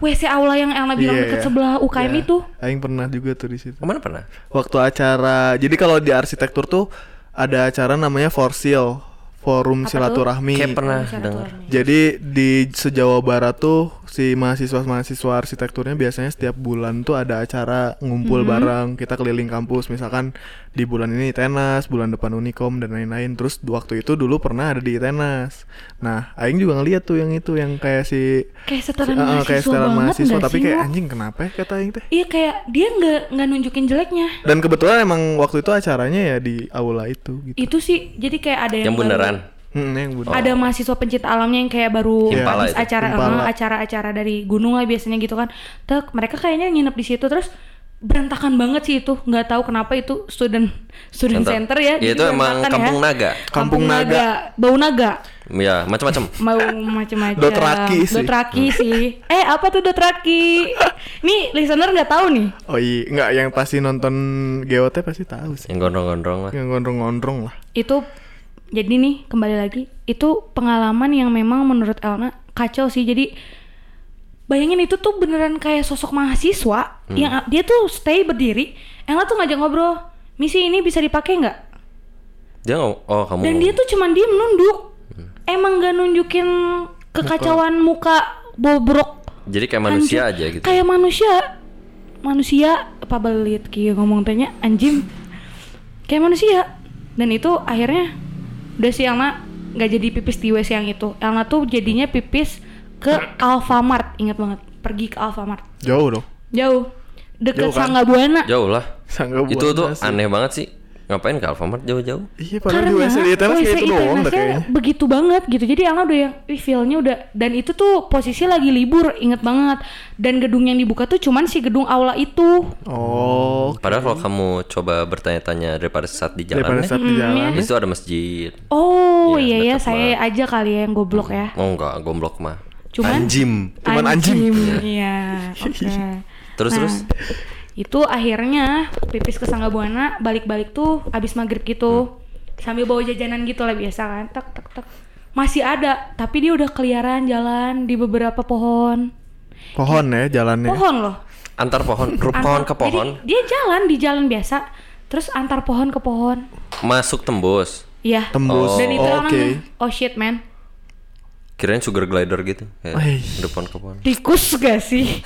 B: WC aula yang Elna bilang
A: Iya, iya.
B: deket sebelah UKM
A: Iya.
B: itu
A: Aing pernah juga tuh di situ.
C: Kemana pernah?
A: Waktu acara. Jadi kalau di arsitektur tuh ada acara namanya Forsil. forum
B: Apa tuh?
A: silaturahmi.
C: Kayak pernah
B: Bisa
C: dengar.
B: naturalnya.
A: Nah, Jadi di sejawa barat tuh si mahasiswa-mahasiswa arsitekturnya biasanya setiap bulan tuh ada acara ngumpul
B: Mm-hmm.
A: bareng kita keliling kampus misalkan di bulan ini Itenas, bulan depan Unikom dan lain-lain. Terus waktu itu dulu pernah ada di Itenas. Nah, aing juga ngeliat tuh yang itu yang kayak si
B: Kayak
A: si- eh,
B: setelan
A: eh,
B: mahasiswa
A: kayak setelan
B: banget
A: mahasiswa
B: nggak
A: tapi
B: sih,
A: kayak
B: Mo?
A: anjing kenapa ya kata aing teh.
B: Iya kayak dia nggak nggak nunjukin jeleknya.
A: Dan kebetulan emang waktu itu acaranya ya di aula itu gitu.
B: Itu sih jadi kayak ada yang,
C: Yang
B: baru-
C: beneran.
A: Hmm, yang bener.
B: Ada mahasiswa pencinta alamnya yang kayak baru
C: Impala
B: habis
C: itu.
B: acara
A: Iya. Impala.
B: eh, acara-acara dari gunung lah biasanya gitu kan. Tek, mereka kayaknya nginep di situ terus berantakan banget sih itu. nggak tahu kenapa itu student student center
C: Center.
B: ya. jadi
C: Ya, itu emang
B: berantakan
C: kampung naga.
A: Kampung naga.
B: Bau naga.
C: Ya, macam-macam.
B: Mau macam-macam.
A: Dotraki sih.
B: Dotraki sih. Eh, apa tuh dotraki? Nih, listener nggak tahu nih.
A: Oh iya, enggak yang pasti nonton GOT pasti tahu sih.
C: yang gondrong-gondrong
B: Iya.
C: lah.
A: Yang gondrong-gondrong lah.
B: itu jadi nih kembali lagi itu pengalaman yang memang menurut Elna kacau sih jadi bayangin itu tuh beneran kayak sosok mahasiswa yang dia tuh stay berdiri Elna tuh ngajak ngobrol misi ini bisa dipakai nggak
C: Dia ngomong, oh kamu.
B: dan dia
C: ngomong.
B: tuh cuman diem nunduk emang gak nunjukin kekacauan muka, bobrok
C: Jadi kayak manusia
B: Anjing.
C: aja gitu.
B: kayak manusia manusia apa belit kia ngomong tehnya anjing kayak manusia dan itu akhirnya udah si Elna nggak jadi pipis di WC yang itu Elna tuh jadinya pipis ke Alfamart ingat banget pergi ke Alfamart
A: Jauh dong.
B: jauh deket
A: Jauh kan?
B: Sangga Buana
C: Jauh lah.
A: Sangga
C: Itu
A: Buana
C: tuh
A: sih.
C: aneh banget sih. Ngapain ke Alfamart jauh-jauh?
A: Iya, padahal di WC di Itenas kayak itu
B: WC
A: doang dah
B: Itenasnya
A: kayaknya.
B: begitu banget gitu jadi Angga udah yang "Ih, feel-nya udah dan itu tuh posisi lagi libur inget banget dan gedung yang dibuka tuh cuman si gedung aula itu
A: Oh,
C: Padahal kalau kamu coba bertanya-tanya daripada saat di Hmm, jalan, ya. Hmm, iya.
A: daripada saat Hmm? di jalan.
C: itu ada masjid.
B: oh
C: Iya,
B: iya ya
C: deket
B: saya aja kali ya yang goblok ya
C: Oh enggak, gomblok mah.
B: cuman
A: Anjim, cuman anjim.
B: iya oke
C: Terus
B: Nah,
C: terus
B: itu akhirnya pipis ke Sangga Buana balik-balik tuh abis maghrib gitu
C: Hmm.
B: sambil bawa jajanan gitu lah biasa kan tek tek tek masih ada tapi dia udah keliaran jalan di beberapa pohon
A: Pohon ya jalannya.
B: pohon loh
C: antar pohon, ru- pohon
B: Antar-
C: ke pohon,
B: jadi dia jalan di jalan biasa terus antar pohon ke pohon
C: masuk tembus.
B: iya
A: Tembus.
B: dan itu
A: Oh,
B: orang
A: oke.
B: oh shit man
C: Kirain sugar glider gitu, kayak
A: Wih.
C: dari pohon ke pohon.
B: tikus gak sih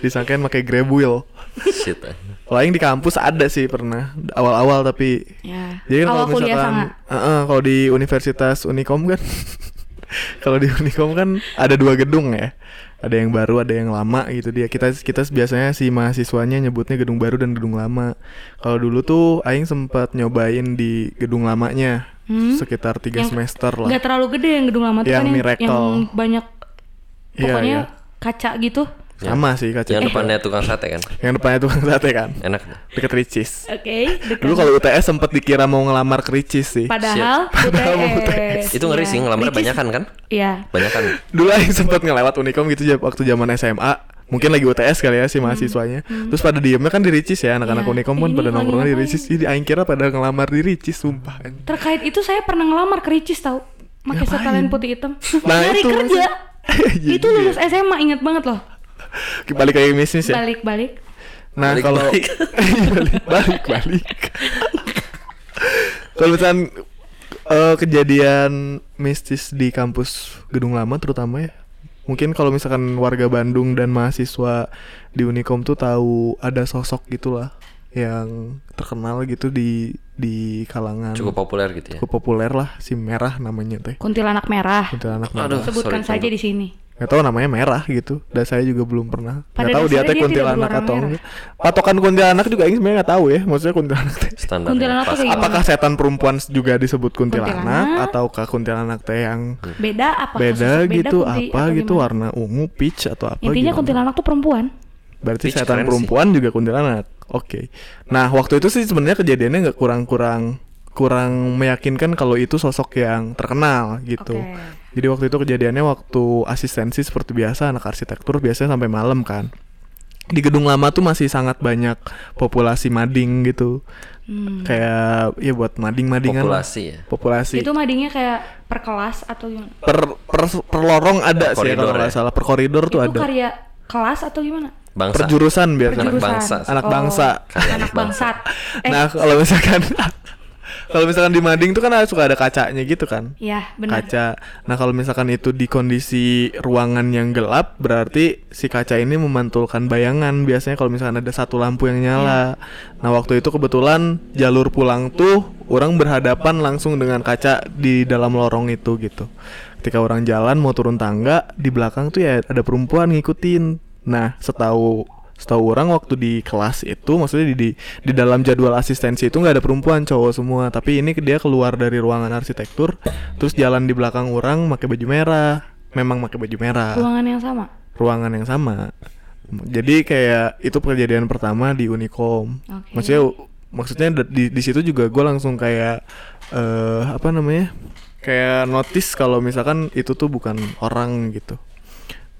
A: Disangkain pakai grab wheel.
C: Shit. eh.
A: Lain di kampus ada sih pernah awal-awal tapi
B: ya
A: jadi kan
B: awal
A: kalau
B: kuliah
A: misalkan
B: sangat
A: Heeh, kalau di Universitas Unikom kan kalau di Unikom kan ada dua gedung ya. Ada yang baru, ada yang lama gitu dia. Kita kita biasanya si mahasiswanya nyebutnya gedung baru dan gedung lama. Kalau dulu tuh aing sempat nyobain di gedung lamanya sekitar tiga
B: Hmm? Yang-
A: semester lah.
B: nggak terlalu gede yang gedung lama tuh
A: Yang
B: kan yang,
A: Miracle.
B: yang banyak
A: Iya,
B: pokoknya
A: iya.
B: kaca gitu
A: Sama sih kaca.
C: Yang
A: Eh,
C: depannya tukang sate kan.
A: Yang depannya tukang sate kan.
C: Enak.
A: Deket Ricis.
B: oke
A: Dulu kalau UTS sempat dikira mau ngelamar ke Ricis sih.
B: Iya. padahal
A: Padahal mau
B: UTS
C: Itu ngeri sih ngelamar banyak kan kan?
B: ya
C: Banyak kan.
A: Dulu aing sempat ngelewat Unikom gitu ja- waktu zaman SMA. Mungkin lagi UTS kali ya si mahasiswanya. Terus pada diemnya kan di Ricis ya anak-anak
B: Hmm. Iya.
A: Unikom pun
B: Ini
A: pada
B: lagi
A: nongkrongnya di
B: ngapain?
A: Ricis. Jadi aing kira pada ngelamar di Ricis sumpah.
B: terkait itu saya pernah ngelamar ke Ricis tau pakai
A: Ngapain?
B: setelan putih hitam
A: Nah,
B: nyari
A: itu
B: kerja
A: maksud- Iya,
B: itu
A: iya.
B: lulus SMA ingat banget loh
A: Balik kayak missis ya.
B: balik-balik
A: Nah
C: Balik-
A: kalau
C: balik.
A: balik balik balik. kalau misalkan eh, kejadian mistis di kampus Gedung Lama terutama ya, mungkin kalau misalkan warga Bandung dan mahasiswa di Unikom tuh tahu ada sosok gitulah yang terkenal gitu di di kalangan
C: Cukup populer gitu ya.
A: cukup populer lah si merah namanya teh.
B: kuntilanak merah
A: Kuntilanak merah.
C: Aduh,
B: sebutkan
C: sorry,
B: saja di sini
A: Gak tahu namanya merah gitu. Dan saya juga belum pernah. Gak
B: Pada
A: tahu dia teh
B: dasarnya dia tidak
A: kuntilanak
B: berwarna
A: atau
B: merah.
A: enggak. Patokan kuntilanak juga ini sebenarnya gak tahu ya. Maksudnya kuntilanak teh.
B: Iya.
C: Standar. ya.
B: Kuntilanak tuh
C: Pas-
B: kayak gitu?
A: Apakah setan perempuan juga disebut kuntilanak,
B: Kuntilanak.
A: ataukah kuntilanak teh yang
B: beda apa
A: Hmm. beda gitu
B: kunti
A: apa
B: atau
A: gitu
B: gimana?
A: warna ungu peach atau apa gitu?
B: intinya
A: gimana?
B: kuntilanak tuh perempuan
A: Berarti
C: Peach
A: setan
C: keren
A: perempuan juga kuntilanak. Oke. Nah, waktu itu sih sebenarnya kejadiannya nggak kurang-kurang kurang meyakinkan kalau itu sosok yang terkenal gitu.
B: Oke.
A: Jadi waktu itu kejadiannya waktu asistensi seperti biasa anak arsitektur biasanya sampai malam kan. Di gedung lama tuh masih sangat banyak populasi mading gitu.
B: Hmm.
A: Kayak ya buat mading-madingan lah.
C: Populasi ya.
A: Populasi.
B: itu madingnya kayak per kelas atau gimana
A: Per, per per lorong ada sih ya, kalau
C: koridor
A: nggak
C: ya.
A: salah per koridor
B: itu
A: tuh ada.
B: karya kelas atau gimana
C: Bangsa.
A: Per jurusan
C: Anak
A: biasanya.
B: Jurusan.
C: bangsa.
A: Anak bangsa.
B: anak bangsat eh
A: Nah, kalau Nah, misalkan Kalau misalkan di mading tuh kan suka ada kacanya gitu kan.
B: Iya, benar.
A: Kaca. Nah, kalau misalkan itu di kondisi ruangan yang gelap, berarti si kaca ini memantulkan bayangan. Biasanya kalau misalkan ada satu lampu yang nyala.
B: Iya.
A: Nah, waktu itu kebetulan jalur pulang tuh orang berhadapan langsung dengan kaca di dalam lorong itu gitu. Ketika orang jalan mau turun tangga, di belakang tuh ya ada perempuan ngikutin. Nah, setahu setahu orang waktu di kelas itu maksudnya di di, di dalam jadwal asistensi itu nggak ada perempuan cowok semua tapi ini dia keluar dari ruangan arsitektur terus jalan di belakang orang pakai baju merah memang pakai baju merah
B: Ruangan yang sama.
A: ruangan yang sama jadi kayak itu kejadian pertama di Unicom
B: Oke.
A: maksudnya maksudnya da- di di situ juga gue langsung kayak eh apa namanya kayak notice kalau misalkan itu tuh bukan orang gitu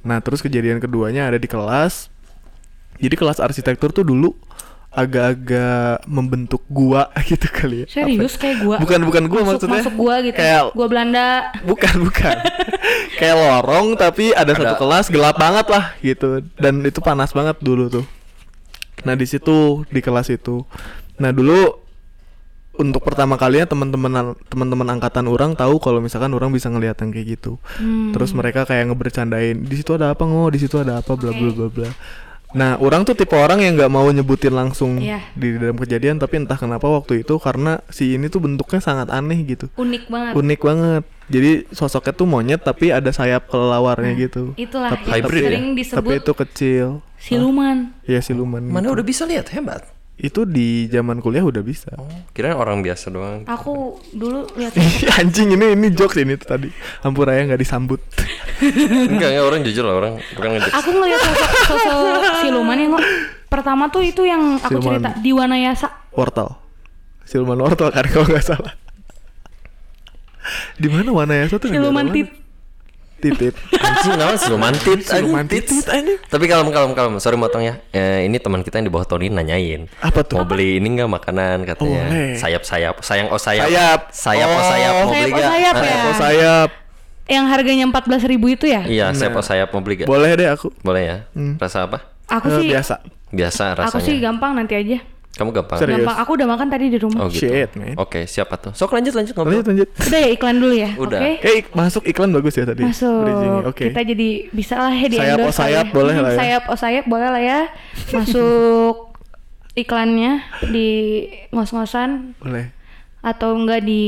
A: nah terus kejadian keduanya ada di kelas jadi kelas arsitektur tuh dulu agak-agak membentuk gua gitu kali ya Apa-
B: Serius kayak gua.
A: bukan bukan gua
B: masuk,
A: maksudnya
B: Masuk gua gitu.
A: kayak
B: Gua Belanda.
A: bukan bukan kayak lorong tapi ada, satu kelas gelap banget lah gitu dan itu panas banget dulu tuh nah di situ di kelas itu nah dulu untuk pertama kalinya teman-teman teman-teman angkatan orang tahu kalau misalkan orang bisa ngelihat yang kayak gitu
B: Hmm.
A: terus mereka kayak ngebercandain di situ ada apa ngo di situ ada apa bla bla bla bla nah orang tuh tipe orang yang nggak mau nyebutin langsung
B: Iya.
A: di dalam kejadian tapi entah kenapa waktu itu karena si ini tuh bentuknya sangat aneh gitu
B: Unik banget.
A: unik banget jadi sosoknya tuh monyet tapi ada sayap kelelawarnya gitu
B: Nah, Itulah
A: tapi,
B: yang
C: Hybrid ya?
B: sering
A: tapi
B: disebut
A: itu kecil
B: siluman.
A: ya siluman
C: Mana
A: gitu.
C: udah bisa lihat hebat.
A: itu di zaman kuliah udah bisa
C: Kirain orang biasa doang.
B: Aku dulu lihat
A: Ih, anjing ini ini jokes ini tuh tadi ampuraya nggak disambut
C: enggak, enggak orang jujur lah orang bukan ngejek.
B: aku ngeliat sosok, sosok siluman yang pertama tuh itu yang aku
A: Siluman.
B: cerita di Wanayasa.
A: wortel siluman wortel kan kalau nggak salah di mana ya? Wanayasa tuh negara
B: Siluman
A: mana?
B: tit-
A: titit
C: Anjing namanya siluman tit.
A: Siluman
C: anjing,
A: titit,
C: tits.
A: anjing.
C: Tapi kalem kalem kalem. Sorry motong ya. Eh, ini teman kita yang di bawah Tony nanyain.
A: Apa tuh?
C: Mau beli ini enggak makanan katanya.
A: Boleh.
C: Sayap-sayap. Sayang oh sayap.
A: Sayap.
C: Sayap oh,
A: Oh.
C: sayap mau beli
B: Sayap oh
C: enggak?
B: sayap
C: Eh,
B: ya.
A: oh sayap
B: Yang harganya 14.000 itu ya?
C: Iya, sayap oh sayap mau beli enggak?
A: boleh Hmm. deh aku
C: Boleh ya. Rasa apa?
B: Aku
A: Eh,
B: sih
A: biasa
C: Biasa rasanya.
B: aku sih gampang nanti aja.
C: Kamu gampang.
A: Serius?
B: Gampang. Aku udah makan tadi di rumah.
C: Oh gitu.
A: Shit, man.
C: Oke, siapa tuh? Sok lanjut lanjut ngobrol.
A: lanjut lanjut
B: Udah ya iklan dulu ya.
C: Udah.
B: Oke.
A: Eh, ik- masuk iklan bagus ya tadi.
B: Masuk.
A: bridging-nya. Oke.
B: Kita jadi bisa lah ya di
A: Sayap, oh
B: endorse
A: sayap,
B: kali
A: boleh lah ya.
B: Sayap oh sayap boleh lah ya. Masuk iklannya di ngos-ngosan
A: Boleh.
B: atau enggak di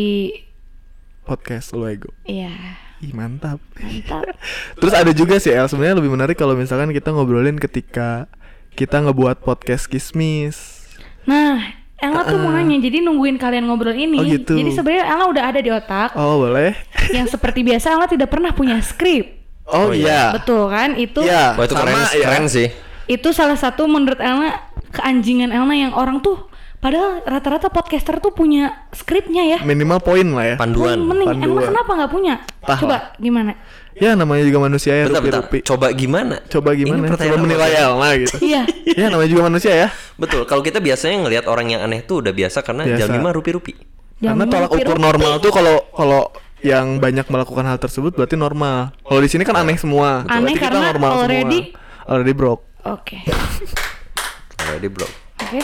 A: Podcast Luego.
B: Iya,
A: Ih, mantap.
B: mantap.
A: Terus ada juga sih El sebenarnya lebih menarik kalau misalkan kita ngobrolin ketika kita ngebuat podcast Kismis.
B: Nah, Ella tuh mau nanya, jadi nungguin kalian ngobrol ini.
A: Ah. Oh, gitu.
B: Jadi sebenarnya Ella udah ada di otak.
A: Oh, boleh.
B: Yang seperti biasa Ella tidak pernah punya skrip.
A: Oh,
C: Oh,
A: iya.
B: Betul kan? Itu
A: Iya.
C: Wah itu
A: Sama
C: keren,
A: ya.
C: keren sih.
B: itu salah satu menurut Elna keanjingan Elna yang orang tuh padahal rata-rata podcaster tuh punya skripnya ya.
A: Minimal poin lah ya.
C: Panduan.
B: Mending Elna
A: panduan.
B: kenapa nggak punya?
A: Tah
B: Coba gimana?
A: Ya namanya juga manusia ya,
C: Bentar, bentar.
A: rupi-rupi.
C: Coba gimana?
A: Coba gimana?
C: Ini
A: Coba
C: pertanyaan
A: menilai
C: apa?
A: El lah gitu.
B: Iya.
A: ya namanya juga manusia ya.
C: Betul. Kalau kita biasanya ngelihat orang yang aneh tuh udah biasa karena
A: Biasa.
C: jam 5 rupi-rupi.
A: Karena
B: Jangan
A: tolak ukur
B: Ya, rupi-rupi.
A: normal tuh kalau kalau yang banyak melakukan hal tersebut berarti normal. Kalau di sini kan aneh semua.
B: Aneh
A: Berarti kita
B: karena
A: normal semua.
B: already-
A: already broke.
B: Oke.
C: Already bro.
B: Oke.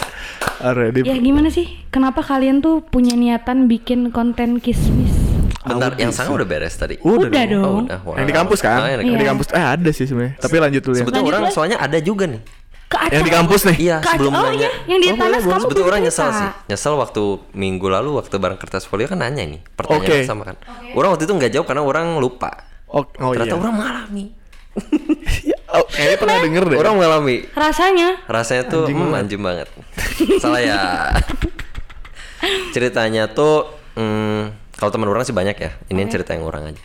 A: Already
B: Ya gimana sih? Kenapa kalian tuh punya niatan bikin konten kismis?
C: Bentar,
A: Audio
C: yang sangat udah beres tadi.
A: Udah
B: Udah,
A: dong.
B: dong.
C: Oh, udah. Wah.
A: Yang di kampus kan?
C: Ah, yang di
A: Yang di
B: Iya.
A: kampus eh ada sih sebenarnya. Tapi lanjut dulu ya.
C: Sebetulnya
B: Lanjut
C: orang
B: lagi.
C: soalnya ada juga nih.
B: Ke Aca.
A: Yang di kampus nih.
C: Iya,
B: Ke Aca.
C: sebelum
B: oh,
C: nanya.
B: iya, yang di tanah kamu
C: Sebetulnya
B: punya
C: orang nyesel
B: cerita.
C: sih. Nyesel waktu minggu lalu waktu bareng kertas folio kan nanya nih pertanyaan
A: Oke.
C: yang sama kan. Orang waktu itu nggak jawab karena orang lupa.
A: Oh, oh iya.
C: Ternyata orang mengalami.
A: Oh, kayaknya pernah denger deh.
C: Orang mengalami.
B: Rasanya
C: Rasanya tuh
A: Anjing
C: hmm,
A: banget.
C: anjing banget. Salah ya. Ceritanya tuh hmm, kalau teman orang sih banyak ya. Ini yang cerita yang orang aja.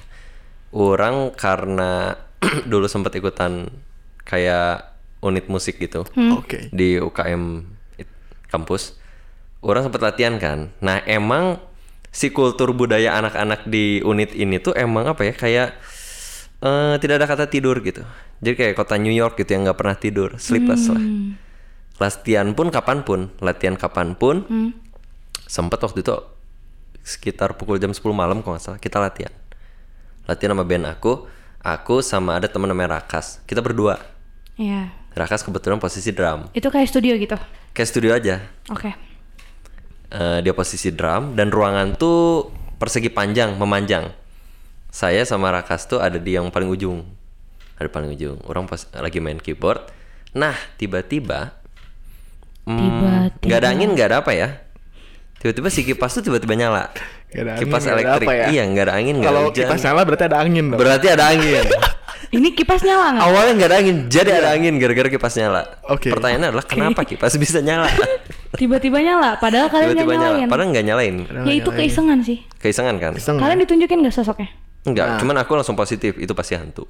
C: Orang karena dulu sempat ikutan kayak unit musik gitu
B: Hmm.
A: Oke.
C: di UKM it- kampus. Orang sempat latihan kan. Nah, emang si kultur budaya anak-anak di unit ini tuh emang apa ya? Kayak eh, tidak ada kata tidur gitu. Jadi kayak kota New York gitu yang nggak pernah tidur,
B: Hmm.
C: sleepless lah. Latihan pun kapanpun, latihan kapanpun.
B: Hmm.
C: Sempet waktu itu sekitar pukul jam 10 malam kalau nggak salah kita latihan. Latihan sama band aku, aku sama ada teman namanya Rakas. Kita berdua.
B: Iya.
C: Rakas kebetulan posisi drum
B: Itu kayak studio gitu.
C: kayak studio aja
B: Oke.
C: eh eh, dia posisi drum dan ruangan tuh persegi panjang memanjang saya sama Rakas tuh ada di yang paling ujung ada paling ujung orang pas lagi main keyboard nah tiba-tiba hmm,
B: Tiba-tiba.
C: nggak ada angin nggak ada apa ya tiba-tiba si kipas tuh tiba-tiba nyala
A: Nggak ada angin,
C: kipas
A: nggak ada
C: elektrik
A: apa ya?
C: iya nggak ada angin nggak ada
A: Kalau
C: hujan
A: kipas nyala ya? berarti ada angin dong.
C: berarti ada angin
B: Ini kipas nyala nggak?
C: Awalnya nggak ada angin, jadi ada angin gara-gara kipas nyala.
A: Iya. Oke.
C: Pertanyaannya adalah kenapa kipas bisa nyala?
B: Tiba-tiba nyala, padahal kalian nggak
C: Tiba-tiba nyala.
B: nyalain.
C: Padahal nggak nyalain.
B: Ya itu keisengan sih.
C: Keisengan kan?
A: Iseng ya?
B: Kalian ditunjukin nggak sosoknya?
C: Enggak,
A: Nah.
C: cuman aku langsung positif, itu pasti hantu.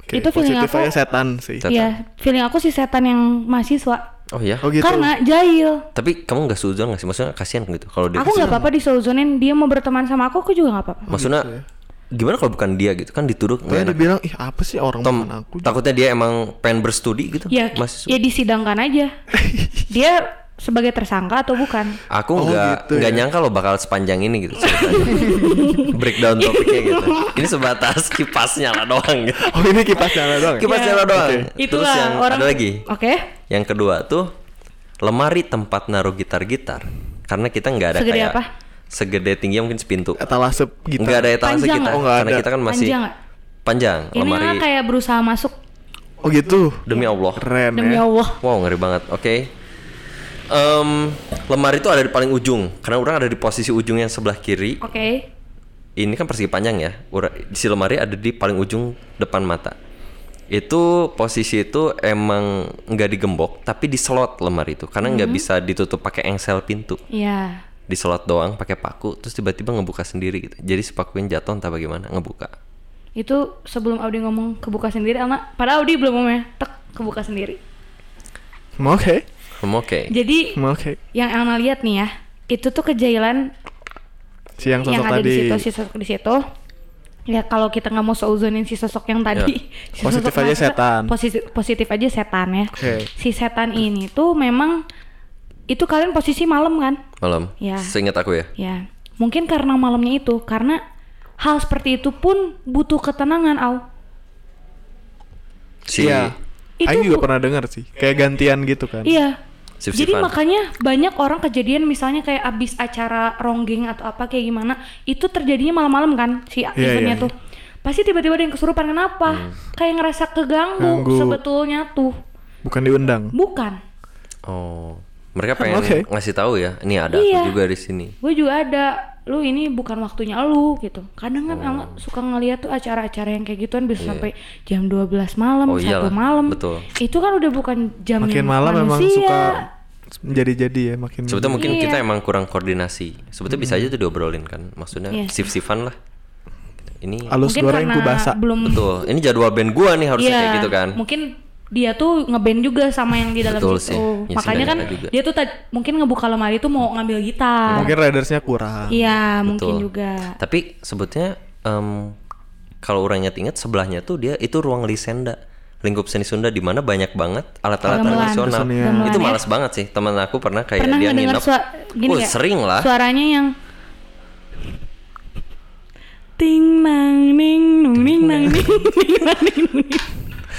A: Oke,
B: Itu feeling
A: positif
B: aku-
A: aja setan sih.
C: Setan.
B: Iya, feeling aku sih setan yang mahasiswa.
C: Oh ya.
A: Oh gitu.
B: Karena jahil.
C: Tapi kamu nggak seuzon nggak sih? Maksudnya kasihan gitu kalau dia.
B: Aku nggak apa-apa disouzonin, dia mau berteman sama aku, aku juga nggak
A: Oh,
B: apa-apa.
C: Maksudnya
A: gitu ya.
C: gimana kalau bukan dia gitu? Kan dituduh
A: Tapi
C: nggak enak.
A: dibilang ih apa sih orang bukan
C: Tom,
A: aku.
C: takutnya dia emang pengen berstudi gitu.
B: Ya,
C: Mas,
B: ya disidangkan aja. dia sebagai tersangka atau bukan?
C: aku
A: Oh,
C: nggak
A: gitu
C: nggak
A: ya.
C: nyangka lo bakal sepanjang ini gitu. ceritanya. Breakdown topiknya gitu. Ini sebatas kipas nyala doang gitu.
A: Oh ini kipas nyala doang. ya?
C: Kipas nyala doang. Eh, Terus
B: Itulah
C: yang
B: orang.
C: ada lagi.
B: Oke.
C: Yang kedua tuh lemari tempat naruh gitar-gitar. Karena kita nggak ada
B: Segede
C: kayak
B: apa?
C: segede tinggi mungkin sepintu.
A: Etalase gitu.
C: Nggak ada etalase
B: Panjang
C: kita
B: nggak?
A: Oh, nggak
C: karena
A: ada.
C: kita kan masih
B: Panjang nggak?
C: panjang
B: Ini
C: lemari
B: orang kayak berusaha masuk
A: Oh gitu.
C: demi Allah.
A: Keren
B: demi
A: ya.
B: Allah.
C: Wow, ngeri banget. Oke. Em, lemari itu ada di paling ujung karena orang ada di posisi ujung yang sebelah kiri.
B: Oke.
C: Ini kan persegi panjang ya. Ura- Si lemari ada di paling ujung depan mata. Itu posisi itu emang nggak digembok tapi diselot lemari itu
B: Mhm.
C: karena nggak bisa ditutup pakai engsel pintu.
B: Iya.
C: diselot doang pakai paku terus tiba-tiba ngebuka sendiri gitu jadi si pakunya jatuh entah bagaimana ngebuka
B: Itu sebelum Audi ngomong kebuka sendiri, Alma. Padahal Audi belum ngomongnya, tek kebuka sendiri.
A: Mau Oke.
C: Hmm, oke
B: Jadi
A: Mau Oke.
B: yang Alma lihat nih ya, itu tuh kejailan
A: Siang sosok
B: yang ada
A: tadi.
B: di situ, si sosok di situ. Ya kalau kita nggak mau seuzonin si sosok yang tadi, si
A: Ya, Positif
B: sosok
A: aja
B: mahasiswa,
A: setan.
B: Positif, positif aja setan ya.
A: Oke.
B: Si setan ini tuh memang itu kalian posisi malam kan?
C: malam
B: Ya.
C: seingat aku ya
B: Ya. Mungkin karena malamnya itu, karena hal seperti itu pun butuh ketenangan, Au.
C: si
A: Iya.
B: Itu
A: Aku juga
B: bu-
A: pernah dengar sih. Kayak gantian gitu kan.
B: Iya.
C: Sip-sipan.
B: Jadi makanya banyak orang kejadian misalnya kayak abis acara ronggeng atau apa kayak gimana itu terjadinya malam-malam kan si eventnya
A: iya, Hmm.
B: tuh pasti tiba-tiba ada yang kesurupan kenapa kayak ngerasa keganggu
A: Ganggu.
B: sebetulnya tuh
A: Bukan diundang.
B: bukan
C: oh mereka pengen
A: Oke.
C: ngasih tahu ya nih ada
B: Iya.
C: aku juga di sini
B: gue juga ada lu ini bukan waktunya lu gitu kadang kan
A: Oh.
B: Alma suka ngeliat tuh acara-acara yang kayak gituan
A: Iya.
B: bisa sampai jam 12 malam
C: Oh,
B: satu
C: iyalah.
B: malam
C: Betul.
B: itu kan udah bukan jam
A: Makin malam memang suka menjadi-jadi ya makin.
C: sebetulnya mungkin
B: Iya.
C: kita emang kurang koordinasi sebetulnya bisa aja tuh diobrolin kan maksudnya
B: Iya.
C: sif-sifan lah ini
A: Alus
B: mungkin
A: goreng ku
B: karena
A: basah.
B: belum
C: betul ini jadwal band gua nih harusnya
B: Iya,
C: kayak gitu kan
B: Mungkin dia tuh ngeband juga sama yang di dalam
C: Betul
B: situ.
C: sih. Ya,
B: Makanya kan
C: seenggaknya juga.
B: dia tuh tad- mungkin ngebuka lemari tuh mau ngambil gitar.
A: Mungkin ridersnya kurang.
B: Iya, mungkin
C: Betul.
B: juga.
C: Tapi sebetulnya em, kalau orang ingat-ingat sebelahnya tuh dia itu ruang Lisenda lingkup seni Sunda di mana banyak banget alat-alat
B: Gamelan.
C: tradisional.
A: Kesenian.
B: Gamelan,
C: Itu
B: ya.
C: malas banget sih. Teman aku pernah kayak
B: Pernah
C: dia
B: ngedengar
C: nginep.
B: suara gini
C: Wah,
B: nggak?
C: sering lah.
B: Suaranya yang ting nang ning nung ning nang ning ning nang ning nung ning.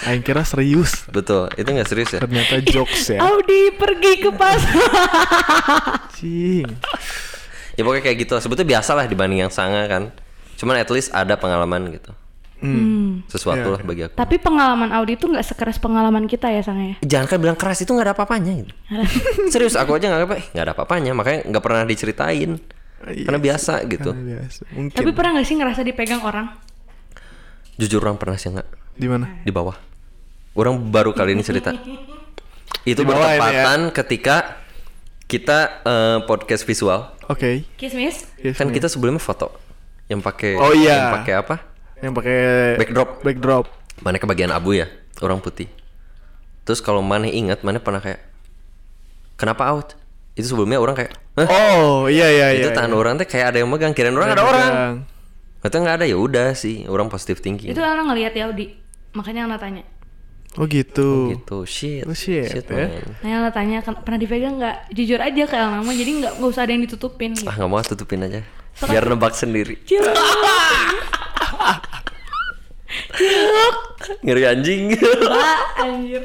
A: Aing Nah, kira serius.
C: Betul, itu nggak serius ya.
A: Ternyata jokes ya.
B: Audi pergi ke pasar.
A: Cing.
C: Ya pokoknya kayak gitu. lah. Sebetulnya biasa lah dibanding yang sanga kan. Cuman at least ada pengalaman gitu.
A: Hmm.
B: Hmm.
C: Sesuatu
A: Iya,
C: lah
A: iya.
C: bagi aku.
B: Tapi pengalaman Audi tuh nggak sekeras pengalaman kita ya sang ya.
C: Jangan kan bilang keras itu nggak ada apa-apanya gitu. serius aku aja nggak apa eh, nggak ada apa-apanya makanya nggak pernah diceritain karena biasa
A: Iya
C: gitu
A: Karena biasa. Mungkin.
B: Tapi pernah nggak sih ngerasa dipegang orang?
C: jujur orang pernah sih nggak
A: Di mana?
C: di bawah. Orang baru kali ini cerita.
A: Di
C: Itu
A: bawah ini ya.
C: bertepatan ketika kita eh, podcast visual.
A: Oke.
B: Kismis?
A: Yes,
C: kan
A: nih.
C: kita sebelumnya foto yang
A: Iya.
C: pakai
A: Oh, iya.
C: yang pakai apa?
A: yang pakai
C: Backdrop.
A: Backdrop.
C: Mana kebagian abu ya, orang putih. Terus kalau mana ingat, mana pernah kayak kenapa out? Itu sebelumnya orang kayak "Hah?"
A: Oh, iya iya iya.
C: Eh? itu
A: iya.
C: tahan orang teh kayak ada yang megang kirain orang ada orang. Kata nggak ada ya udah sih, orang positif thinking.
B: Itu orang ngelihat ya Audi. Makanya Alna tanya.
A: Oh gitu.
C: Gitu, shit.
A: Oh, shit, ya.
C: man.
B: Nah, Elna tanya "Ken- pernah dipegang nggak? Jujur aja ke Elna mah, jadi nggak nggak usah ada yang ditutupin. Gitu.
C: Ah, nggak mau tutupin aja. Biar nebak sendiri.
B: Cilok,
C: Ngeri anjing.
B: Pak, anjir.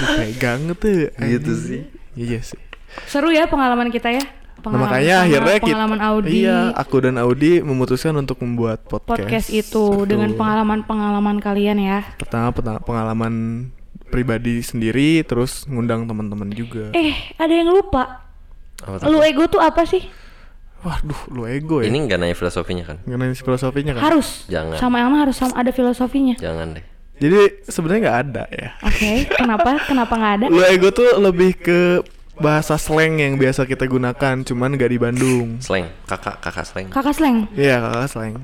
A: Dipegang tuh.
C: gitu
A: anjing.
C: sih.
A: Iya sih.
B: Seru ya pengalaman kita ya.
A: Nah,
B: pengalaman
A: makanya
B: sama,
A: akhirnya kita,
B: pengalaman Audi
A: iya aku dan Audi memutuskan untuk membuat podcast,
B: podcast itu dengan
A: Betul.
B: pengalaman-pengalaman kalian ya.
A: pertama peta- pengalaman pribadi sendiri terus ngundang teman-teman juga
B: Eh, ada yang lupa.
C: Apa tuh?
B: Lu ego tuh apa sih?
A: waduh lu ego ya
C: Ini nggak nanya filosofinya kan?
A: mengenai filosofinya kan
B: Harus.
C: Jangan.
B: Sama Elma harus sama ada filosofinya.
C: Jangan deh.
A: jadi sebenarnya nggak ada ya
B: Oke, kenapa? Kenapa nggak ada?
A: lu ego tuh lebih ke bahasa slang yang biasa kita gunakan cuman nggak di Bandung
C: Slang, kakak, kakak slang.
B: Kakak slang.
A: Iya kakak slang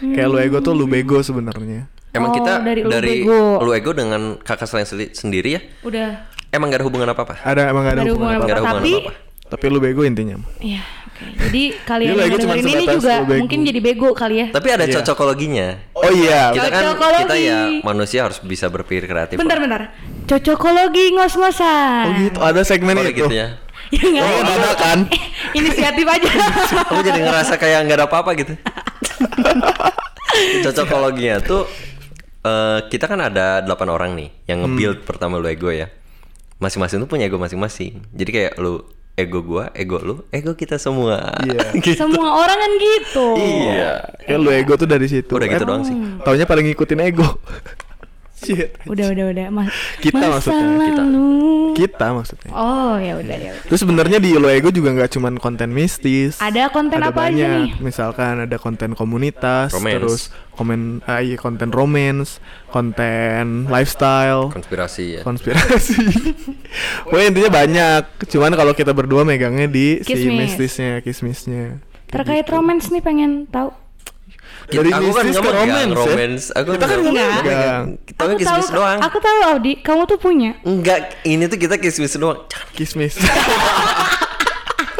A: kayak
B: Hmm.
A: lu ego tuh lu bego sebenarnya
C: Emang
B: Oh,
C: kita
B: dari
C: dari,
B: lu bego.
C: lu ego dengan kakak slang seli- sendiri ya?
B: Udah
C: Emang gak ada hubungan apa-apa?
A: ada emang nggak ada
B: ada
A: hubungan
B: hubungan
A: apa
C: Nggak
B: apa-apa.
C: ada hubungan
B: Tapi
C: apa-apa.
A: tapi lu bego intinya
B: Iya, oke. Jadi kalian
A: Gila,
B: yang
A: itu cuma
B: dengerin ini
A: sebatas
B: juga
A: lu bego.
B: mungkin jadi bego kali ya.
C: Tapi ada
A: Iya.
C: cocokologinya.
A: oh iya
C: Kita kan
B: Cocokologi.
C: kita ya manusia harus bisa berpikir kreatif.
B: Bentar, bentar. Cocokologi ngos-ngosan.
A: oh gitu ada segmen
C: Oh,
A: itu
C: gitu ya.
B: Ya nggak
A: Oh,
B: ada.
A: ada kan?
B: Inisiatif aja.
C: Aku jadi ngerasa kayak nggak ada apa-apa gitu. Cocokologinya tuh eh, kita kan ada 8 orang nih yang
A: Hmm.
C: nge-build pertama lu ego ya. Masing-masing tuh punya ego masing-masing. Jadi kayak lu ego gua, ego lu, ego kita semua.
A: Iya.
C: Gitu.
B: Semua orang kan gitu.
C: Iya.
A: Kayak lu ego tuh dari situ.
C: Udah gitu
A: Eh,
C: doang sih.
A: Taunya paling ngikutin ego. Shit.
B: Udah, udah, udah. Mas,
A: Kita
B: masa
A: maksudnya,
C: kita.
B: lalu.
A: Kita maksudnya.
B: Oh, ya udah, ya udah.
A: Terus sebenarnya di lu ego juga nggak cuman konten mistis.
B: Ada konten
A: Ada
B: apa aja
A: banyak.
B: nih?
A: Misalkan ada konten komunitas,
C: Romance.
A: terus komen ah, iya, konten romance, konten lifestyle,
C: Konspirasi ya.
A: konspirasi. Pokoknya intinya banyak. Cuman kalau kita berdua megangnya di si
B: Kismis.
A: mistisnya, kismisnya. gitu.
B: Terkait romance nih pengen tahu.
C: Kita-
A: Dari
C: aku kan
A: mistis ke
C: nggak megang
A: romance ya.
C: romance. Aku
A: Kita kan
C: nggak
B: nggak
C: megang.
A: megang.
C: Kita kan kismis
B: tahu,
C: doang.
B: aku tahu Audi, kamu tuh punya.
C: Enggak, ini tuh kita kismis doang. Jangan.
A: Kismis.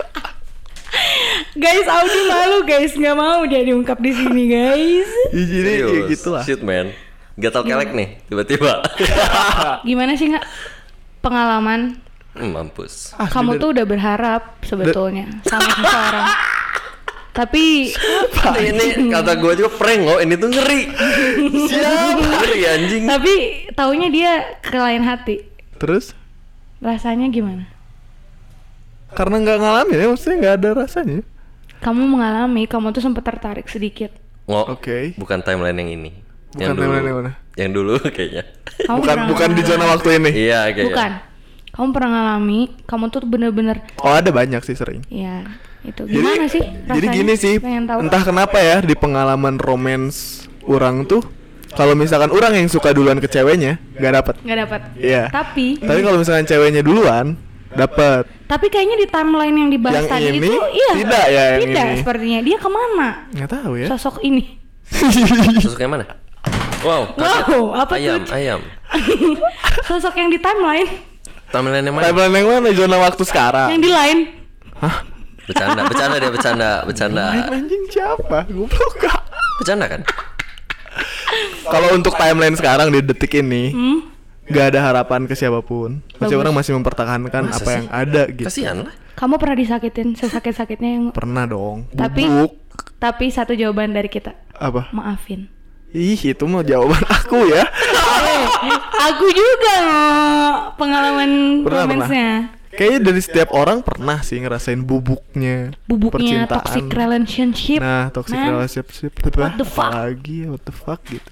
B: Guys, Audi malu guys, nggak mau dia diungkap di sini guys.
A: Jadi ya
C: Serius.
A: gitu lah.
C: Shit man. Gatal kelek nih tiba-tiba.
B: Gimana sih nggak pengalaman?
C: Hmm, Mampus.
A: Asli
B: kamu
A: dari-
B: tuh udah berharap sebetulnya sama seseorang. Tapi
C: ini kata gue juga prank loh. Ini tuh ngeri. Siapa? Ngeri anjing.
B: tapi taunya dia ke lain hati.
A: Terus
B: Rasanya gimana?
A: karena nggak ngalamin ya maksudnya nggak ada rasanya
B: Kamu mengalami, kamu tuh sempat tertarik sedikit.
C: Ngo,
A: Oke.
C: bukan timeline yang ini.
A: Bukan
C: yang dulu,
A: timeline yang mana?
C: Yang dulu kayaknya.
B: Kamu
A: bukan
B: pernah
A: bukan di
B: ngalamin-
A: zona waktu ini
C: Iya kayaknya.
B: Bukan. Kamu pernah ngalami, kamu tuh bener-bener
A: oh ada banyak sih sering
B: ya itu gimana sih rasanya?
A: jadi gini sih
B: Pengen tahu.
A: entah kenapa ya di pengalaman romance orang tuh kalau misalkan orang yang suka duluan ke ceweknya nggak dapet
B: nggak dapat.
A: Iya.
B: Tapi
A: tapi kalau misalkan ceweknya duluan dapet
B: tapi kayaknya di timeline yang
A: Yang
B: dibahas tadi
A: ini
B: itu iya
A: tidak ya, yang
B: tidak
A: ini.
B: sepertinya dia kemana
A: nggak tahu ya
B: sosok ini
C: Sosok yang mana? Wow. kaget.
B: Wow, apa tuh?
C: ayam, ayam.
B: sosok yang di timeline
C: Timeline yang mana?
A: timeline yang mana zona waktu sekarang
B: yang di line
A: hah
C: Bercanda, bercanda dia bercanda, bercanda.
A: Main anjing siapa goblok gak
C: Bercanda kan?
A: kalau untuk timeline sekarang di detik ini
B: hmm?
A: nggak ada harapan ke siapapun masih
B: Bagus.
A: orang masih mempertahankan
C: Masa
A: apa
C: sih?
A: yang ada gitu
C: Kasihan lah.
B: kamu pernah disakitin sesakit-sakitnya yang
A: pernah dong
B: tapi
A: Bubuk.
B: tapi satu jawaban dari kita
A: apa
B: maafin
A: Ih, itu mah jawaban aku ya.
B: Eh, aku juga pengalaman
A: Pernah,
B: romansnya
A: Kayaknya dari setiap orang pernah sih ngerasain bubuknya,
B: bubuknya
A: percintaan.
B: toxic relationship
A: Nah, toxic
B: Man,
A: relationship ship,
B: What the fuck?
A: Lagi, what the fuck gitu.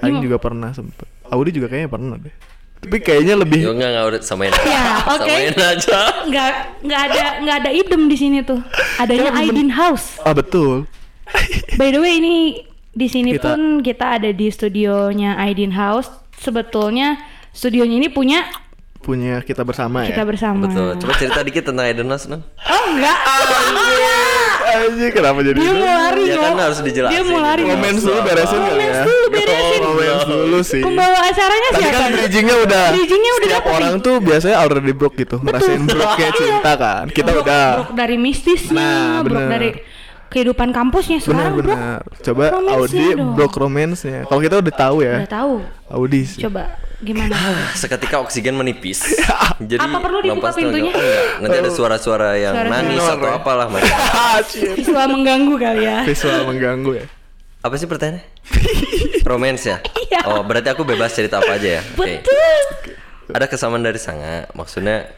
A: Aing
B: Gimana?
A: juga pernah sempet. Audi juga kayaknya pernah deh. Tapi kayaknya lebih
C: Yo enggak enggak udah samain.
B: Ya, oke.
C: Samain aja.
B: nggak nggak ada nggak ada idem di sini tuh adanya
A: Jangan
B: Aidin House
A: ah betul.
B: By the way ini di sini
A: Kita-
B: pun kita ada di studionya Aidin House. Sebetulnya studionya ini punya
A: Punya kita bersama ya.
B: kita bersama.
C: Betul. Coba cerita dikit tentang Edenos, Nan.
B: Oh enggak.
A: Anjing, kenapa jadi
B: Dia
A: gitu?
B: mau lari
C: Ya
B: loh.
C: kan harus dijelasin.
B: Dia mau lari
C: gitu.
B: loh.
A: Comments dulu beresin kali
B: Comments
A: ya.
B: dulu beresin.
A: Comments dulu sih.
B: Pembawa acaranya
A: Tadi
B: siapa?
A: kan bridgingnya udah
B: Bridgingnya udah
A: Setiap
B: dapet
A: orang
B: nih. Iya.
A: tuh biasanya already broke gitu Ngerasain broke-nya cinta kan Kita
B: Brok-
A: udah
B: brok dari mistisnya,
A: Nah,
B: brok
A: bener.
B: dari kehidupan kampusnya sekarang brok
A: Benar-benar Coba
B: romance-nya
A: Audi
B: dong.
A: broke romance-nya Kalau kita udah tahu ya
B: udah tahu.
A: Audi sih
B: Coba gimana?
C: Seketika oksigen menipis. Jadi
B: Ya. Apa perlu dibuka
C: nafas tuh
B: pintunya?
C: agak- enggak. Nanti ada suara-suara yang
B: Oh. Suara-suara.
C: nangis atau
A: Nore.
C: apalah, Mas.
A: Ah, shit.
B: Visual mengganggu kali ya.
A: Visual mengganggu ya
C: Apa sih pertanyaannya? Romance ya?
B: Iya.
C: Oh, berarti aku bebas cerita apa aja ya? Oke.
B: Betul.
C: Ada kesamaan dari sanga. Maksudnya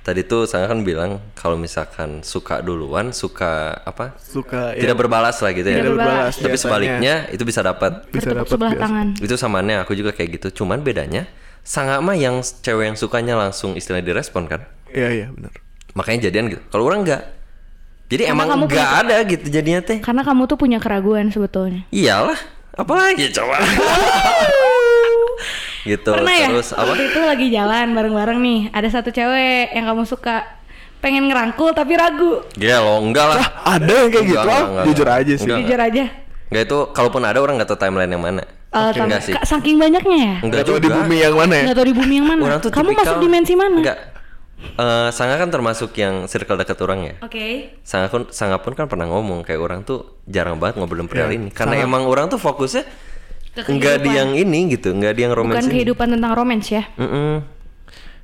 C: Tadi tuh saya kan bilang kalau misalkan suka duluan, suka apa?
A: suka ya,
C: Tidak berbalas lah gitu ya.
B: Iya. Tidak berbalas, Iya,
C: Tapi sebaliknya itu bisa dapat.
A: Bisa
B: bertepuk
A: dapat
B: sebelah
A: biasa.
B: tangan
C: Itu samannya aku juga kayak gitu. Cuman bedanya sangga mah yang cewek yang sukanya langsung istilahnya direspon kan.
A: iya iya benar
C: Makanya jadian gitu. Kalau orang enggak. Jadi emang
B: kamu
C: enggak ada gitu jadinya teh.
B: karena kamu tuh punya keraguan sebetulnya
C: Iyalah, apalagi coba. gitu.
B: pernah ya
C: Terus apa?
B: waktu itu lagi jalan bareng-bareng nih ada satu cewek yang kamu suka pengen ngerangkul tapi ragu
C: Ya lo enggak lah.
A: ada yang kayak gitu ah jujur aja sih
C: Enggak,
B: jujur aja
C: Enggak itu kalaupun ada orang nggak tahu timeline yang mana.
B: Eh, tam-
C: Enggak sih.
B: Ka- saking banyaknya ya
A: nggak
C: Enggak
A: tahu di
C: juga.
A: bumi yang mana ya
B: nggak tahu di bumi yang mana
C: Orang tuh
B: kamu
C: tipikal-
B: masuk dimensi mana
C: Enggak. Eh, Sangga kan termasuk yang circle dekat orang ya.
B: oke
C: Sangga pun, Sangga pun kan pernah ngomong kayak orang tuh jarang banget ngobrolin perihal ini karena emang orang tuh fokusnya
B: Iya, Ke
C: enggak di
B: kehidupan.
C: yang ini gitu, enggak di yang
B: bukan
C: romance. ini.
B: kehidupan tentang romance ya
C: Mm-mm.